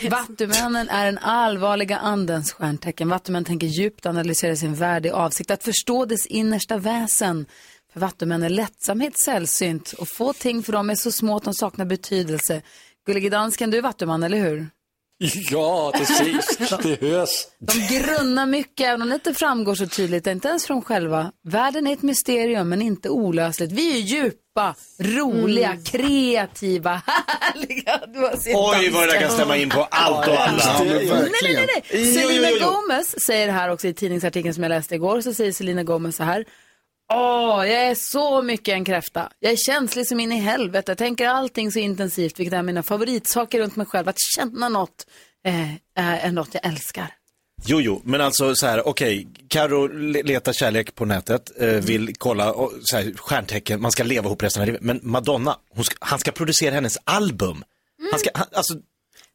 [SPEAKER 1] Vattumännen är den allvarliga andens stjärntecken. Vattumännen tänker djupt analysera sin värld i avsikt att förstå dess innersta väsen. För Vattumän är lättsamhet sällsynt och få ting för dem är så små att de saknar betydelse. Gullige dansken, du är Vattuman, eller hur?
[SPEAKER 9] Ja, det ses, det hörs.
[SPEAKER 1] De grunnar mycket, även om det inte framgår så tydligt, inte ens för dem själva. Världen är ett mysterium, men inte olösligt. Vi är djupa, roliga, kreativa, härliga. Du har sett
[SPEAKER 3] Oj, vad det där
[SPEAKER 1] dansken.
[SPEAKER 3] kan stämma in på allt och alla.
[SPEAKER 2] Ja, men
[SPEAKER 1] Nej, nej,
[SPEAKER 2] verkligen.
[SPEAKER 1] nej, nej.
[SPEAKER 3] Jo, jo,
[SPEAKER 1] Selena
[SPEAKER 3] jo, jo.
[SPEAKER 1] Gomez säger här också i tidningsartikeln som jag läste igår, så säger Selena Gomez så här. Åh, jag är så mycket en kräfta. Jag är känslig som in i helvete. Jag tänker allting så intensivt, vilket är mina favoritsaker runt mig själv. Att känna något eh, är något jag älskar.
[SPEAKER 3] Jo, jo, men alltså så här, okej, Karo le- letar kärlek på nätet, eh,
[SPEAKER 9] Mm.
[SPEAKER 3] vill kolla och, så här, stjärntecken, man ska leva ihop resten av livet. Men Madonna, hon ska, han ska producera hennes album. Han ska, han, alltså,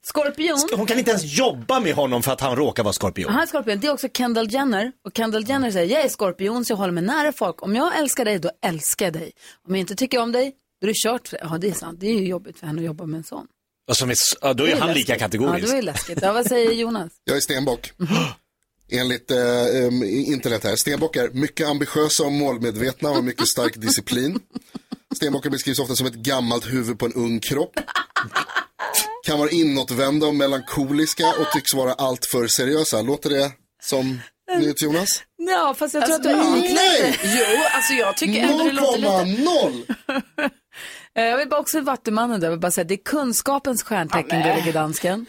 [SPEAKER 1] Skorpion.
[SPEAKER 3] ska, hon kan inte ens jobba med honom för att han råkar vara skorpion.
[SPEAKER 1] Han är skorpion. Det är också Kendall Jenner. Och Kendall Jenner säger, jag är skorpion så jag håller mig nära folk. Om jag älskar dig, då älskar jag dig. Om jag inte tycker om dig, då är det kört. för dig." Ja, det är sant. Det är ju jobbigt för henne att jobba med en sån.
[SPEAKER 3] Och som är, s- Alltså, ja, då är, han
[SPEAKER 1] läskigt.
[SPEAKER 3] lika
[SPEAKER 1] Ja,
[SPEAKER 3] kategorisk.
[SPEAKER 1] det var ju läskigt. Ja, vad säger Jonas?
[SPEAKER 2] Jag är stenbock.
[SPEAKER 1] Mhm.
[SPEAKER 2] Enligt eh, em, internet här. Stenbock är mycket ambitiösa och målmedvetna och har mycket stark disciplin. Stenbockar beskrivs ofta som ett gammalt huvud på en ung kropp. Kan vara inåtvända och melankoliska och tycks vara alltför seriösa. Låter det som nyhet Jonas?
[SPEAKER 1] Ja, fast jag tror
[SPEAKER 4] Alltså,
[SPEAKER 1] att du har
[SPEAKER 4] nej.
[SPEAKER 1] inklätt dig.
[SPEAKER 4] Jo, alltså jag tycker ändå det låter lite...
[SPEAKER 2] 0,0!
[SPEAKER 1] Eh, Jag vill bara också Vattumannen där, jag vill bara säga det är kunskapens stjärntecken, gullige dansken.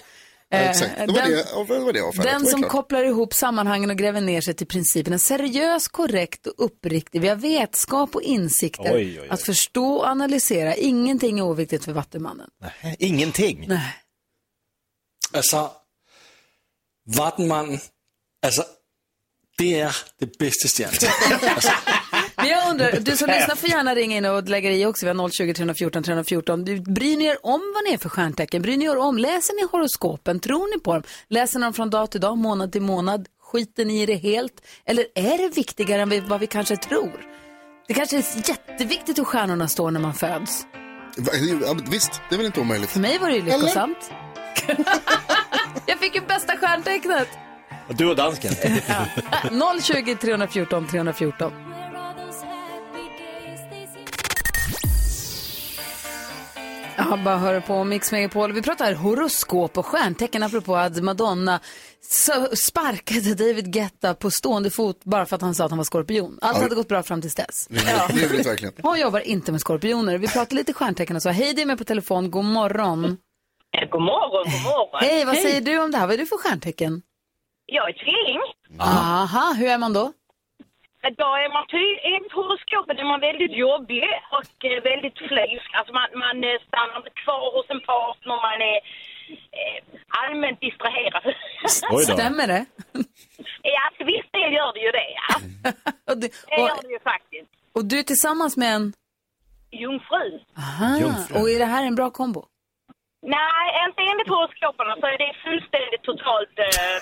[SPEAKER 2] Ja, Exakt, det var
[SPEAKER 1] den-
[SPEAKER 2] det, ja, det, var det jag avfärdade.
[SPEAKER 1] Den
[SPEAKER 2] Det var
[SPEAKER 1] som
[SPEAKER 2] klart.
[SPEAKER 1] kopplar ihop sammanhangen och gräver ner sig till principerna. Seriös, korrekt och uppriktig. Vi har vetskap och insikter.
[SPEAKER 3] Oj, oj, oj.
[SPEAKER 1] Att förstå och analysera. Ingenting är oviktigt för Vattumannen.
[SPEAKER 3] Nej, Ingenting.
[SPEAKER 1] Nej.
[SPEAKER 9] Altså,
[SPEAKER 3] Alltså,
[SPEAKER 9] Vattenmannen, altså, det er det bedste stjernetegn.
[SPEAKER 1] Men jag undrar, du som lyssnar får gärna ringa in och lägga i också. Vi har 020 314 314. Du, bryr ni er om vad ni är för stjärntecken? Bryr ni er om? Läser ni horoskopen? Tror ni på dem? Läser ni dem från dag till dag, månad till månad? Skiter ni i det helt? Eller är det viktigare än vi- vad vi kanske tror? Det kanske är jätteviktigt hur stjärnorna står när man föds.
[SPEAKER 2] Va- ja, men Visst, det är väl inte omöjligt.
[SPEAKER 1] För mig var det ju
[SPEAKER 2] Eller?
[SPEAKER 1] lyckosamt. jag fick ju bästa stjärntecknet.
[SPEAKER 3] Och Du och dansken.
[SPEAKER 1] 020 314 314. Ja, bara hör på Mix Megapol. Vi pratar horoskop och stjärntecken apropå att Madonna s- sparkade David Guetta på stående fot bara för att han sa att han var skorpion. Allt hade gått bra fram tills dess.
[SPEAKER 2] Ljuvligt verkligen.
[SPEAKER 1] Hon jobbar inte med skorpioner. Vi pratar lite stjärntecken och så. Hej, det är med på telefon. God morgon.
[SPEAKER 8] Eh, God morgon, god morgon.
[SPEAKER 1] Hej, vad säger du om det här? Vad är du för stjärntecken?
[SPEAKER 8] Jag är tvilling.
[SPEAKER 1] Aha, hur är man då?
[SPEAKER 8] Eh, Då är man ty, enligt horoskopen är man väldigt jobbig och eh, väldigt flysk. Alltså man, man eh, stannar inte kvar hos en partner, man är eh, allmänt distraherad.
[SPEAKER 3] Oj då.
[SPEAKER 1] Stämmer det?
[SPEAKER 8] ja, till viss del gör det ju det. Ja.
[SPEAKER 1] Och, du-
[SPEAKER 8] Det
[SPEAKER 1] och,
[SPEAKER 8] gör det ju faktiskt.
[SPEAKER 1] och du är tillsammans med en?
[SPEAKER 8] Jungfru.
[SPEAKER 1] Aha,
[SPEAKER 3] Jungfru.
[SPEAKER 1] och är det här en bra kombo?
[SPEAKER 8] Nej, inte enligt horoskoperna så är det fullständigt totalt eh,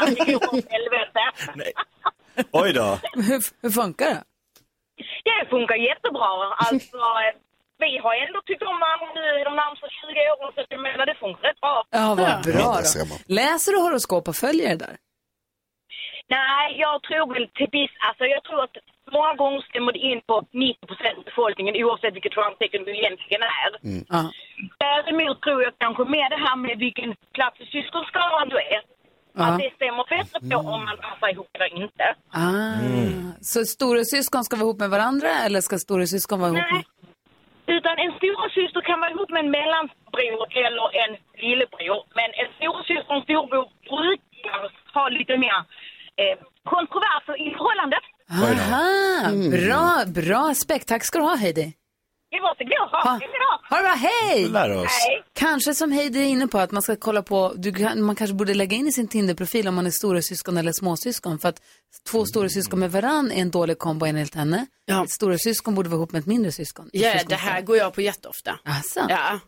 [SPEAKER 8] att det går åt helvete.
[SPEAKER 3] Nej. Oj då.
[SPEAKER 1] Hur, hur funkar det?
[SPEAKER 8] Det funkar jättebra. Alltså, eh, vi har ändå tyckt om varandra nu i de närmaste 20 åren så jag menar, det funkar rätt bra.
[SPEAKER 1] Ja, vad bra
[SPEAKER 2] där ser
[SPEAKER 1] då.
[SPEAKER 2] man.
[SPEAKER 1] Läser du horoskop och följer det där?
[SPEAKER 8] Nej, jag tror väl till viss... Alltså jag tror att många gånger stämmer det in på 90 procent av befolkningen oavsett vilket stjärntecken du egentligen är.
[SPEAKER 1] Ja.
[SPEAKER 8] Däremot tror jag kanske mer det här med vilken plats i syskonskaran du är. Att det stämmer bättre på om man passar ihop eller inte.
[SPEAKER 1] Ah. Så storasyskon ska vara ihop med varandra eller ska storasyskon vara ihop med...
[SPEAKER 8] Nej. Utan en storasyster kan vara ihop med en mellanbror eller en lillebror. Men en storasyster och en storbror brukar ha lite mer eh, kontroverser i förhållandet.
[SPEAKER 1] Aha, bra, bra aspekt. Tack ska du ha Heidi.
[SPEAKER 8] Det var så glad.
[SPEAKER 1] Ha,
[SPEAKER 8] Ha det bra.
[SPEAKER 1] ha det bra, hej!
[SPEAKER 3] Lär oss.
[SPEAKER 1] Kanske som Heidi är inne på, att man ska kolla på, du, kan- man kanske borde lägga in i sin Tinder-profil om man är stora syskon eller småsyskon. För att två stora syskon med varann är en dålig kombo enligt henne.
[SPEAKER 4] Ja.
[SPEAKER 1] Ett stora syskon borde vara ihop med ett Ah, mindre syskon.
[SPEAKER 4] Ja,
[SPEAKER 1] Syskon-
[SPEAKER 4] det här går jag på jätteofta.
[SPEAKER 1] Asså?
[SPEAKER 4] Ja,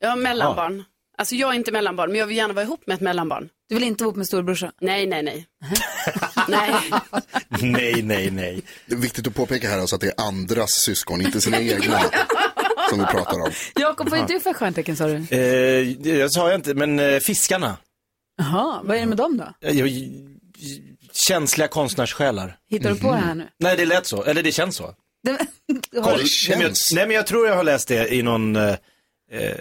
[SPEAKER 4] jag har mellanbarn. Alltså jag är inte mellanbarn, men jag vill gärna vara ihop med ett mellanbarn.
[SPEAKER 1] Du vill inte vara ihop med storebrorsan?
[SPEAKER 4] Nej, nej, nej. nej.
[SPEAKER 3] Nej, nej, nej.
[SPEAKER 2] Det är viktigt att påpeka här alltså att det är andras syskon, inte sina egna, som vi pratar om.
[SPEAKER 1] Jakob, vad är du för stjärntecken sa du?
[SPEAKER 3] Eh, det sa jag inte, men eh, fiskarna.
[SPEAKER 1] Jaha, vad är det med dem då?
[SPEAKER 3] Eh, jag- j- känsliga konstnärssjälar.
[SPEAKER 1] Hittar du på det här nu?
[SPEAKER 3] Nej, det lät så. Eller det känns så.
[SPEAKER 1] Det, du
[SPEAKER 3] Kolla,
[SPEAKER 1] har,
[SPEAKER 3] nej, men jag,
[SPEAKER 2] känns.
[SPEAKER 3] nej men jag tror jag har läst det i någon... Eh, eh,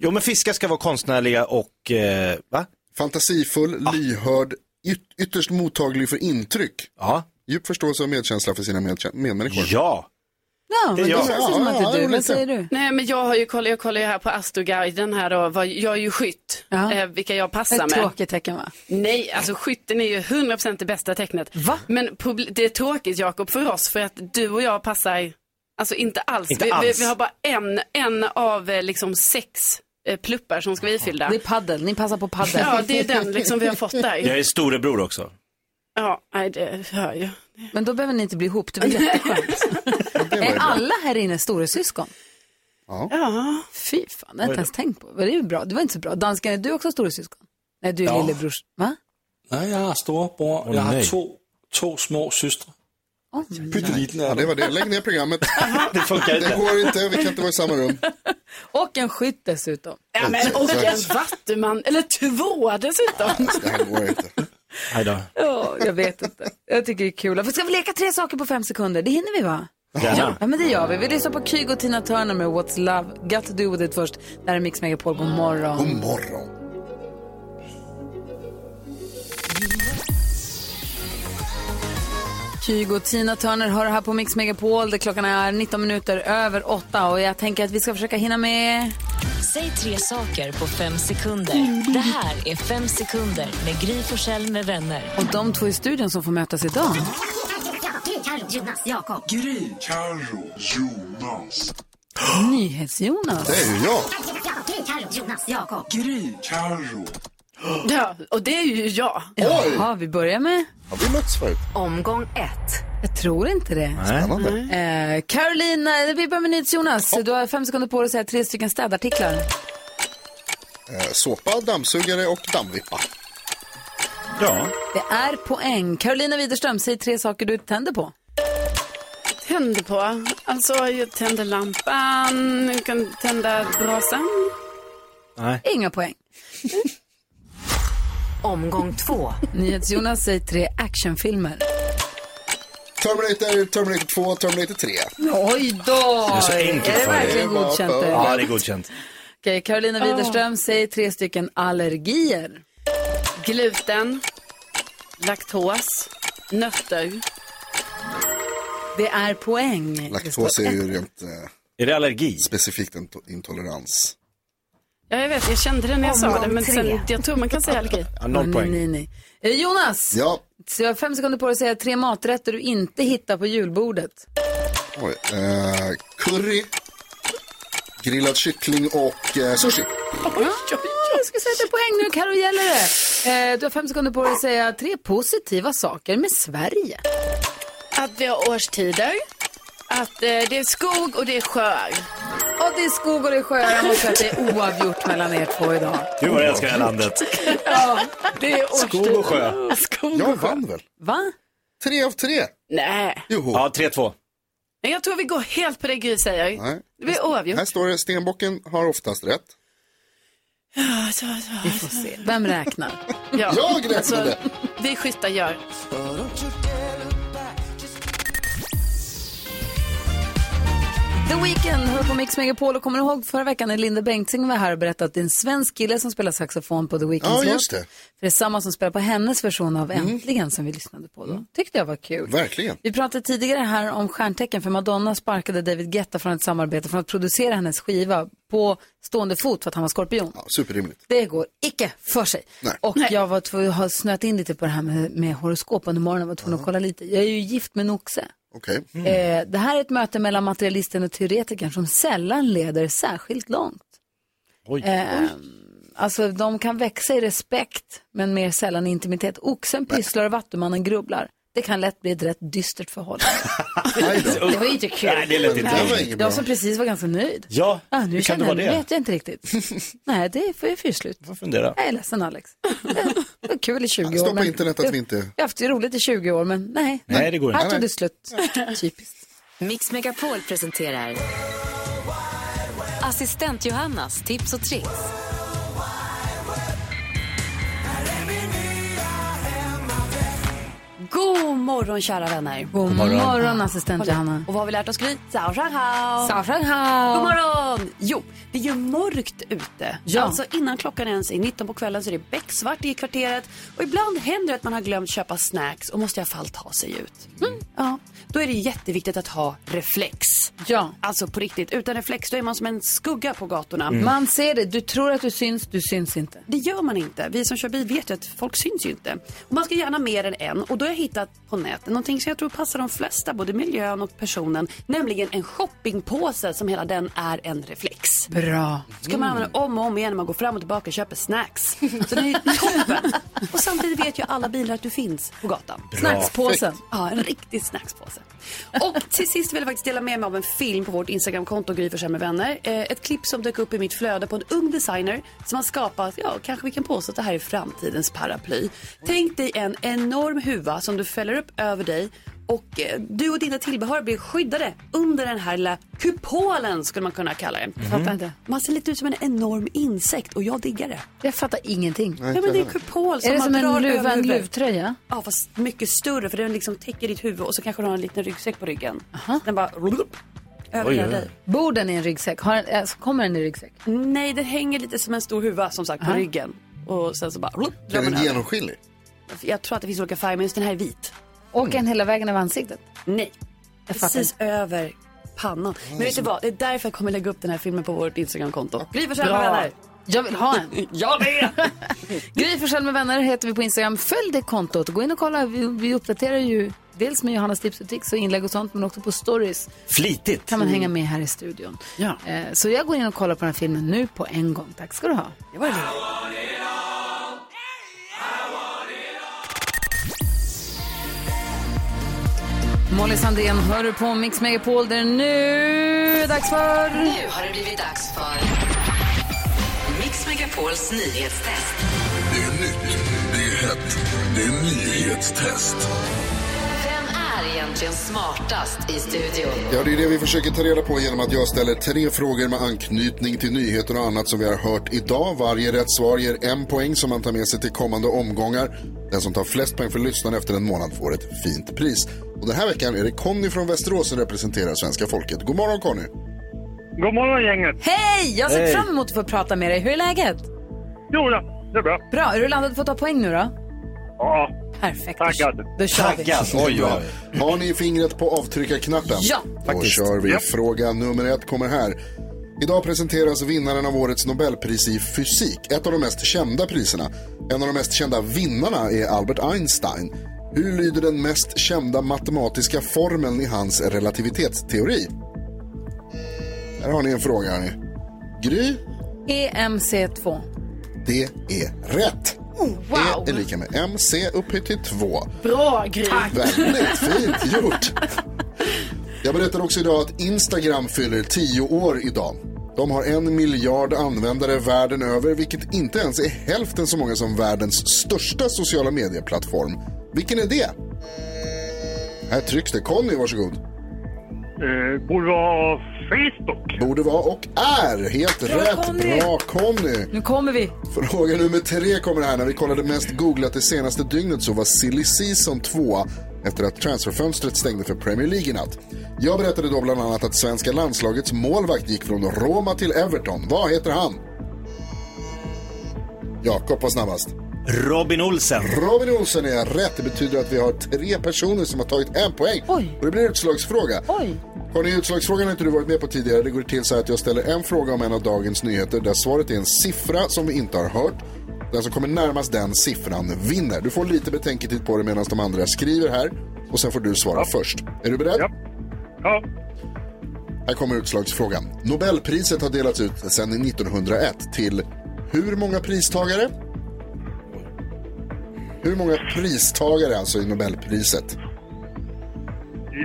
[SPEAKER 3] jo men fiskar ska vara konstnärliga och... Eh, va?
[SPEAKER 2] Fantasifull, lyhörd, yt- ytterst mottaglig för intryck.
[SPEAKER 3] Ja.
[SPEAKER 2] Djup förståelse och medkänsla för sina medkä- medmänniskor.
[SPEAKER 3] Ja.
[SPEAKER 1] ja, men det
[SPEAKER 3] Ja,
[SPEAKER 1] känns ju som
[SPEAKER 2] ja,
[SPEAKER 1] att det är
[SPEAKER 2] ja,
[SPEAKER 1] du.
[SPEAKER 2] lite.
[SPEAKER 1] Vad säger du?
[SPEAKER 4] nej, men jag har ju kollat, jag kollar ju här på Astroguiden här då. vad- Jag är ju skytt,
[SPEAKER 1] Ja.
[SPEAKER 4] eh, vilka jag
[SPEAKER 1] Det är
[SPEAKER 4] passar
[SPEAKER 1] ett
[SPEAKER 4] med.
[SPEAKER 1] tråkigt tecken va?
[SPEAKER 4] Nej, alltså skytten är ju 100% det bästa tecknet.
[SPEAKER 1] Va?
[SPEAKER 4] Men proble- det är tråkigt Jakob för oss för att du och jag passar, alltså inte alls.
[SPEAKER 3] Inte
[SPEAKER 4] vi,
[SPEAKER 3] alls.
[SPEAKER 4] Vi, vi har bara en, en av eh, liksom sex eh, pluppar som ska vara ifyllda.
[SPEAKER 1] Det är paddel, ni passar på paddel.
[SPEAKER 4] Ja, det är den liksom vi har fått där.
[SPEAKER 3] Jag är storebror också.
[SPEAKER 4] Ja, nej, det hör ju.
[SPEAKER 1] Men då behöver ni inte bli ihop, det blir jätteskönt.
[SPEAKER 2] Det var ju
[SPEAKER 1] är
[SPEAKER 2] bra.
[SPEAKER 1] alla här inne storasyskon?
[SPEAKER 4] Ja,
[SPEAKER 1] Fy fan, det har jag inte ens tänkt på. Men Det är ju bra, det var inte så bra. Dansken, är du också storasyskon? Nej, du är lillebrors. Va?
[SPEAKER 9] Nej, jag har storebror. jag har
[SPEAKER 3] nej.
[SPEAKER 9] två, två små systrar.
[SPEAKER 1] Oh,
[SPEAKER 9] Pytteliten
[SPEAKER 2] Ja,
[SPEAKER 9] är
[SPEAKER 2] det
[SPEAKER 9] det.
[SPEAKER 2] var det. Lägg ner programmet.
[SPEAKER 3] Det funkar
[SPEAKER 2] Det
[SPEAKER 3] inte.
[SPEAKER 2] går inte, vi kan inte vara i samma rum.
[SPEAKER 1] och en skytt dessutom.
[SPEAKER 4] ja men och en vattuman, eller två dessutom.
[SPEAKER 2] Det här går inte.
[SPEAKER 3] Nej då.
[SPEAKER 1] Ja, jag vet inte. Jag tycker det är kul. För ska vi leka tre saker på fem sekunder? Det hinner vi va?
[SPEAKER 3] Gärna.
[SPEAKER 1] Ja, men det gör vi. Vi lyssnar på Kygo och Tina Turner med What's Love, Got To Do With It först. Där är Mix Megapol, god morgon.
[SPEAKER 2] God morgon.
[SPEAKER 1] Kygo och Tina Turner hör här på Mix Megapol där klockan är 19 minuter över 8 och jag tänker att vi ska försöka hinna med...
[SPEAKER 10] Säg tre saker på fem sekunder. Det här är Fem sekunder med Gry Forssell med vänner.
[SPEAKER 1] Och de två i studion som får mötas idag.
[SPEAKER 2] Det
[SPEAKER 1] NyhetsJonas.
[SPEAKER 2] är ju jag.
[SPEAKER 4] Ja, och det är ju jag.
[SPEAKER 1] Jaha, vi börjar med...
[SPEAKER 2] Har vi mötts förut?
[SPEAKER 10] Omgång ett.
[SPEAKER 1] Jag tror inte det.
[SPEAKER 4] Mm.
[SPEAKER 2] Spännande.
[SPEAKER 1] Eh, Caroline, eh, vi börjar med NyhetsJonas. Du har fem sekunder på dig att säga tre stycken städartiklar.
[SPEAKER 2] Eh, Såpa, dammsugare och dammvippa.
[SPEAKER 3] Ja.
[SPEAKER 1] Det är poäng. Carolina Widerström, säg tre saker du tänder på.
[SPEAKER 4] Tänder på, alltså jag tänder lampan, jag kan tända brasan.
[SPEAKER 1] Inga poäng.
[SPEAKER 10] Omgång två.
[SPEAKER 1] NyhetsJonas, säg tre actionfilmer.
[SPEAKER 2] Terminator, Terminator 2, Terminator 3.
[SPEAKER 1] Mm, Oj då!
[SPEAKER 3] är så enkelt
[SPEAKER 1] Är det
[SPEAKER 3] för dig.
[SPEAKER 1] verkligen
[SPEAKER 2] Det är bara
[SPEAKER 1] godkänt?
[SPEAKER 2] för-
[SPEAKER 1] det?
[SPEAKER 3] Ja, det är godkänt.
[SPEAKER 1] Okej, Carolina Widerström, säg tre stycken allergier.
[SPEAKER 4] Gluten, laktos, nötter.
[SPEAKER 1] Det är poäng.
[SPEAKER 2] Laktos är ju rent eh,
[SPEAKER 3] Är det allergi?
[SPEAKER 2] specifikt en to- intolerans.
[SPEAKER 4] Ja, jag vet, jag kände det när jag sa
[SPEAKER 10] Omgång
[SPEAKER 4] det, men
[SPEAKER 10] tre.
[SPEAKER 4] sen, jag tror man kan säga allergi.
[SPEAKER 3] Ja, noll
[SPEAKER 1] nej,
[SPEAKER 3] poäng.
[SPEAKER 1] nej, nej. Eh, Jonas,
[SPEAKER 2] Ja,
[SPEAKER 1] så jag har fem sekunder på dig att säga tre maträtter du inte hittar på julbordet.
[SPEAKER 2] oj. Eh, curry, grillad kyckling och eh, sushi.
[SPEAKER 1] Jag ska säga att det är poäng nu, Karo gäller det. Eh, du har fem sekunder på dig att säga tre positiva saker med Sverige.
[SPEAKER 4] Att vi har årstider, att eh, det är skog och det är sjöar.
[SPEAKER 1] Och det är skog och det är sjöar. Jag måste säga att det är oavgjort mellan er två idag.
[SPEAKER 3] Gud vad jag älskar det här landet.
[SPEAKER 4] Det är årstider.
[SPEAKER 3] Skog och sjö.
[SPEAKER 4] Skog
[SPEAKER 2] Jag
[SPEAKER 4] och sjö.
[SPEAKER 2] vann väl?
[SPEAKER 1] Va?
[SPEAKER 2] Tre av tre.
[SPEAKER 4] Nej,
[SPEAKER 2] Joho.
[SPEAKER 3] Ja, 3-2.
[SPEAKER 4] men jag tror vi går helt på det Gry säger.
[SPEAKER 2] Nej.
[SPEAKER 4] Det blir
[SPEAKER 2] Här
[SPEAKER 4] oavgjort.
[SPEAKER 2] står det stenbocken har oftast rätt.
[SPEAKER 4] Så, så.
[SPEAKER 1] Vi får se. Vem räknar?
[SPEAKER 4] Ja. Alltså,
[SPEAKER 2] Jag räknade.
[SPEAKER 4] vi skyttar gör.
[SPEAKER 1] The Weeknd hör på Mix Megapol och kommer du ihåg förra veckan när Linda Bengtzing var här och berättade att det är en svensk kille som spelar saxofon på The Weeknds
[SPEAKER 2] Ja,
[SPEAKER 1] låt.
[SPEAKER 2] just det.
[SPEAKER 1] För det är samma som spelar på hennes version av Äntligen som vi lyssnade på då. Tyckte jag var kul.
[SPEAKER 2] Verkligen.
[SPEAKER 1] Vi pratade tidigare här om stjärntecken för Madonna sparkade David Guetta från ett samarbete för att producera hennes skiva på stående fot för att han var skorpion.
[SPEAKER 2] Ja, superrimligt.
[SPEAKER 1] Det går icke för sig.
[SPEAKER 2] Nej.
[SPEAKER 1] Och jag var tvungen, har snöat in lite på det här med, med horoskop under morgonen. Var tvungen att kolla lite. Jag är ju gift med en oxe.
[SPEAKER 2] Okej.
[SPEAKER 1] Eh, det här är ett möte mellan materialisten och teoretikern som sällan leder särskilt långt.
[SPEAKER 3] Oj.
[SPEAKER 1] Eh, alltså de kan växa i respekt men mer sällan i intimitet. Oxen pysslar och vattumannen grubblar. Det kan lätt bli ett rätt dystert förhållande. det var ju inte kul.
[SPEAKER 3] Nej, det lät inte
[SPEAKER 1] Nej,
[SPEAKER 3] roligt.
[SPEAKER 1] Jag som precis var ganska nöjd.
[SPEAKER 3] Ja,
[SPEAKER 1] Ah, nu
[SPEAKER 3] hur kan det
[SPEAKER 1] känner
[SPEAKER 3] vara
[SPEAKER 1] jag, nu
[SPEAKER 3] det?
[SPEAKER 1] vet jag inte riktigt. Nej, det får ju fyrslut.
[SPEAKER 3] Jag fundera.
[SPEAKER 1] Jag är ledsen Alex. Det var kul i 20 år.
[SPEAKER 2] Stoppa
[SPEAKER 1] men-
[SPEAKER 2] internet att vi inte...
[SPEAKER 1] Jag har haft det roligt i 20 år, men nej.
[SPEAKER 3] Nej, det går inte.
[SPEAKER 1] Här tog det slut. Typiskt.
[SPEAKER 10] Mix Megapol presenterar Assistent Johannas tips och tricks.
[SPEAKER 4] God morgon kära vänner.
[SPEAKER 1] God morgon. morgon, assistent
[SPEAKER 4] Håll i.
[SPEAKER 1] Johanna.
[SPEAKER 4] Och vad har vi lärt oss Gry? Sao Shang Hao.
[SPEAKER 1] Sao Shang Hao.
[SPEAKER 4] God morgon. Jo, det är ju mörkt ute.
[SPEAKER 1] Ja.
[SPEAKER 4] Alltså innan klockan ens är 19 på kvällen så är det becksvart i kvarteret. Och ibland händer det att man har glömt köpa snacks och måste i alla fall ta sig ut.
[SPEAKER 1] Mm.
[SPEAKER 4] Ja, då är det jätteviktigt att ha reflex.
[SPEAKER 1] Ja.
[SPEAKER 4] Alltså på riktigt, utan reflex då är man som en skugga på gatorna.
[SPEAKER 1] Man ser det. Du tror att du syns, du syns inte.
[SPEAKER 4] Det gör man inte. Vi som kör bil vet ju att folk syns ju inte. Och man ska gärna mer än en. Och då har jag hittat på nätet någonting som jag tror passar de flesta, både miljön och personen. Nämligen en shoppingpåse som hela den är en reflex.
[SPEAKER 1] Bra.
[SPEAKER 4] Ska man använda om och om igen när man går fram och tillbaka och köper snacks. Så det är ju toppen. Och samtidigt vet ju alla bilar att du finns på gatan.
[SPEAKER 1] Snackspåsen.
[SPEAKER 4] Ja, en riktig snackspåse. Och till sist vill jag faktiskt dela med mig av en film på vårt Instagramkonto, Gry Forssell med vänner. Eh, ett klipp som dök upp i mitt flöde på en ung designer som har skapat, ja, kanske vi kan påstå att det här är framtidens paraply. Tänk dig en enorm huva som du fäller upp över dig och eh, du och dina tillbehör blir skyddade under den här lilla kupolen skulle man kunna kalla den.
[SPEAKER 1] Fattar inte.
[SPEAKER 4] Man ser lite ut som en enorm insekt och jag diggar det.
[SPEAKER 1] Jag fattar ingenting.
[SPEAKER 4] Ja, men det är en kupol som
[SPEAKER 1] Är det som
[SPEAKER 4] man drar
[SPEAKER 1] en, luv,
[SPEAKER 4] över
[SPEAKER 1] en
[SPEAKER 4] huvudet.
[SPEAKER 1] luvtröja?
[SPEAKER 4] Ja, fast mycket större för den liksom täcker ditt huvud och så kanske du har en liten ryggsäck på ryggen. Den bara över hela dig.
[SPEAKER 1] Bor den i en ryggsäck? Har den, alltså, kommer den i ryggsäck?
[SPEAKER 4] Nej, den hänger lite som en stor huva som sagt på ryggen. Och sen så bara drar
[SPEAKER 2] Är
[SPEAKER 4] man
[SPEAKER 2] den
[SPEAKER 4] över.
[SPEAKER 2] genomskinlig?
[SPEAKER 4] Jag tror att det finns olika färger, men just den här är vit.
[SPEAKER 1] Åker den hela vägen över ansiktet?
[SPEAKER 4] Nej,
[SPEAKER 1] Jag fattar
[SPEAKER 4] precis över pannan. Men vet du vad, det är därför jag kommer lägga upp den här filmen på vårt Instagramkonto. Gry Forssell med
[SPEAKER 1] Bra.
[SPEAKER 4] vänner.
[SPEAKER 1] Jag vill ha en.
[SPEAKER 4] Jag med!
[SPEAKER 1] Gry Forssell med vänner heter vi på Instagram. Följ det kontot. Gå in och kolla. Vi, vi uppdaterar ju dels med Johannas tips och tricks och inlägg och sånt, men också på stories.
[SPEAKER 3] Flitigt.
[SPEAKER 1] kan man hänga med här i studion.
[SPEAKER 4] Mm. Ja.
[SPEAKER 1] Eh, Så jag går in och kollar på den här filmen nu på en gång. Tack ska du ha.
[SPEAKER 4] Det var det.
[SPEAKER 1] Molly Sandén hör du på Mix Megapol där nu dags för...
[SPEAKER 10] Nu har det blivit dags för Mix Megapols nyhetstest. Vem är egentligen smartast i studion?
[SPEAKER 2] Ja, det är det vi försöker ta reda på genom att jag ställer tre frågor med anknytning till nyheter och annat som vi har hört idag. Varje rätt svar ger en poäng som man tar med sig till kommande omgångar. Den som tar flest poäng för lyssnarna efter en månad får ett fint pris. Och den här veckan är det Conny från Västerås som representerar svenska folket. God morgon Conny!
[SPEAKER 6] God morgon gänget!
[SPEAKER 1] Hej! Jag ser fram emot att få prata med dig. Hur är läget?
[SPEAKER 6] Jo, ja, det är bra.
[SPEAKER 1] Bra. Är du laddad för att ta poäng nu då?
[SPEAKER 6] Ja,
[SPEAKER 1] Perfekt.
[SPEAKER 6] Taggad.
[SPEAKER 1] Då kör vi.
[SPEAKER 3] Taggad. Oj, oj.
[SPEAKER 2] Har ni fingret på avtryckarknappen?
[SPEAKER 1] Ja,
[SPEAKER 2] Då
[SPEAKER 3] faktiskt.
[SPEAKER 2] kör vi.
[SPEAKER 6] Ja.
[SPEAKER 2] Fråga nummer ett kommer här. Idag presenteras vinnaren av årets Nobelpris i fysik, ett av de mest kända priserna. En av de mest kända vinnarna är Albert Einstein. Hur lyder den mest kända matematiska formeln i hans relativitetsteori? Här har ni en fråga. Hörni. Gry,
[SPEAKER 1] E EMC2.
[SPEAKER 2] det är rätt. Det är lika med MC upphöjt till 2.
[SPEAKER 11] Bra Gry.
[SPEAKER 2] Väldigt fint gjort. Jag berättade också idag att Instagram fyller 10 år idag. De har en miljard användare världen över, vilket inte ens är hälften så många som världens största sociala medieplattform. Vilken är det? Här trycks det. Conny, varsågod.
[SPEAKER 6] Eh, borde vara Facebook.
[SPEAKER 2] Borde vara och är helt rätt.
[SPEAKER 1] Conny.
[SPEAKER 2] Bra Conny!
[SPEAKER 1] Nu kommer vi.
[SPEAKER 2] Fråga nummer tre kommer här. När vi kollade mest googlat det senaste dygnet så var Silly Season tvåa efter att transferfönstret stängde för Premier League i natt. Jag berättade då bland annat att svenska landslagets målvakt gick från Roma till Everton. Vad heter han? Jakob var snabbast.
[SPEAKER 3] Robin Olsen.
[SPEAKER 2] Robin Olsson är rätt. Det betyder att vi har tre personer som har tagit en poäng.
[SPEAKER 1] Oj.
[SPEAKER 2] Och det blir utslagsfråga.
[SPEAKER 1] Oj.
[SPEAKER 2] Har ni utslagsfrågan har inte du varit med på tidigare. Det går till så här att jag ställer en fråga om en av dagens nyheter där svaret är en siffra som vi inte har hört. Den som kommer närmast den siffran vinner. Du får lite betänketid på dig medan de andra skriver här. Och sen får du svara först. Är du beredd? Ja.
[SPEAKER 6] ja.
[SPEAKER 2] Här kommer utslagsfrågan. Nobelpriset har delats ut sedan 1901 till hur många pristagare? Hur många pristagare alltså i Nobelpriset?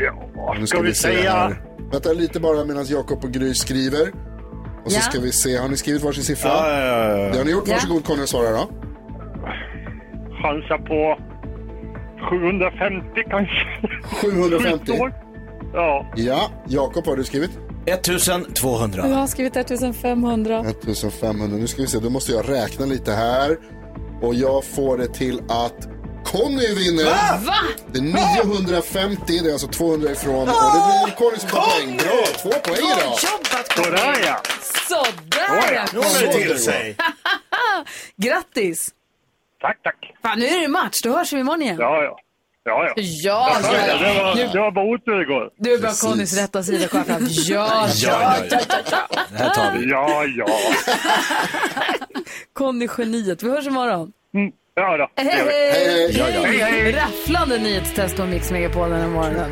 [SPEAKER 6] Ja,
[SPEAKER 2] Nu
[SPEAKER 6] ska vi
[SPEAKER 2] se
[SPEAKER 6] säga...
[SPEAKER 2] här. Vänta lite bara medan Jakob och Gry skriver. Och så
[SPEAKER 6] Ja.
[SPEAKER 2] ska vi se, har ni skrivit varsin siffra?
[SPEAKER 6] Ja, ja, ja, ja.
[SPEAKER 2] Det har ni gjort.
[SPEAKER 6] Ja.
[SPEAKER 2] Varsågod Conny och svara då.
[SPEAKER 6] Chansa på 750 kanske.
[SPEAKER 2] 750?
[SPEAKER 6] Ja.
[SPEAKER 2] Ja, Jakob vad har du skrivit? 1200.
[SPEAKER 1] Jag har skrivit 1500.
[SPEAKER 2] 1500. Nu ska vi se, då måste jag räkna lite här. Och jag får det till att Conny vinner.
[SPEAKER 1] Va? Va?
[SPEAKER 2] Det är 950, det är alltså 200 ifrån. Och det blir Conny som tar poäng. Bra, två poäng idag.
[SPEAKER 6] Sådär ja.
[SPEAKER 1] Sådär ja!
[SPEAKER 2] Nu håller det till
[SPEAKER 1] Conny.
[SPEAKER 2] sig.
[SPEAKER 1] Grattis!
[SPEAKER 6] Tack, tack.
[SPEAKER 1] Fan, nu är det match. Då hörs vi imorgon igen.
[SPEAKER 6] Ja, ja. Ja, ja.
[SPEAKER 1] Ja,
[SPEAKER 6] det,
[SPEAKER 1] ja.
[SPEAKER 6] det, var,
[SPEAKER 1] Nu-
[SPEAKER 6] det var bara otur igår.
[SPEAKER 1] Du är bara Connys rätta sida kvar fram. Ja,
[SPEAKER 6] Ja,
[SPEAKER 1] ja, ja,
[SPEAKER 6] ja,
[SPEAKER 1] ja.
[SPEAKER 6] Det här tar vi. Ja, ja.
[SPEAKER 1] Conny geniet. Vi hörs imorgon.
[SPEAKER 6] Mm. Ja då.
[SPEAKER 1] Hej,
[SPEAKER 6] Hej, hej.
[SPEAKER 1] hej!
[SPEAKER 6] Ja, ja. Hej, hej.
[SPEAKER 1] Rafflande nyhetstest på Mix Megapol den här morgonen.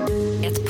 [SPEAKER 10] Ett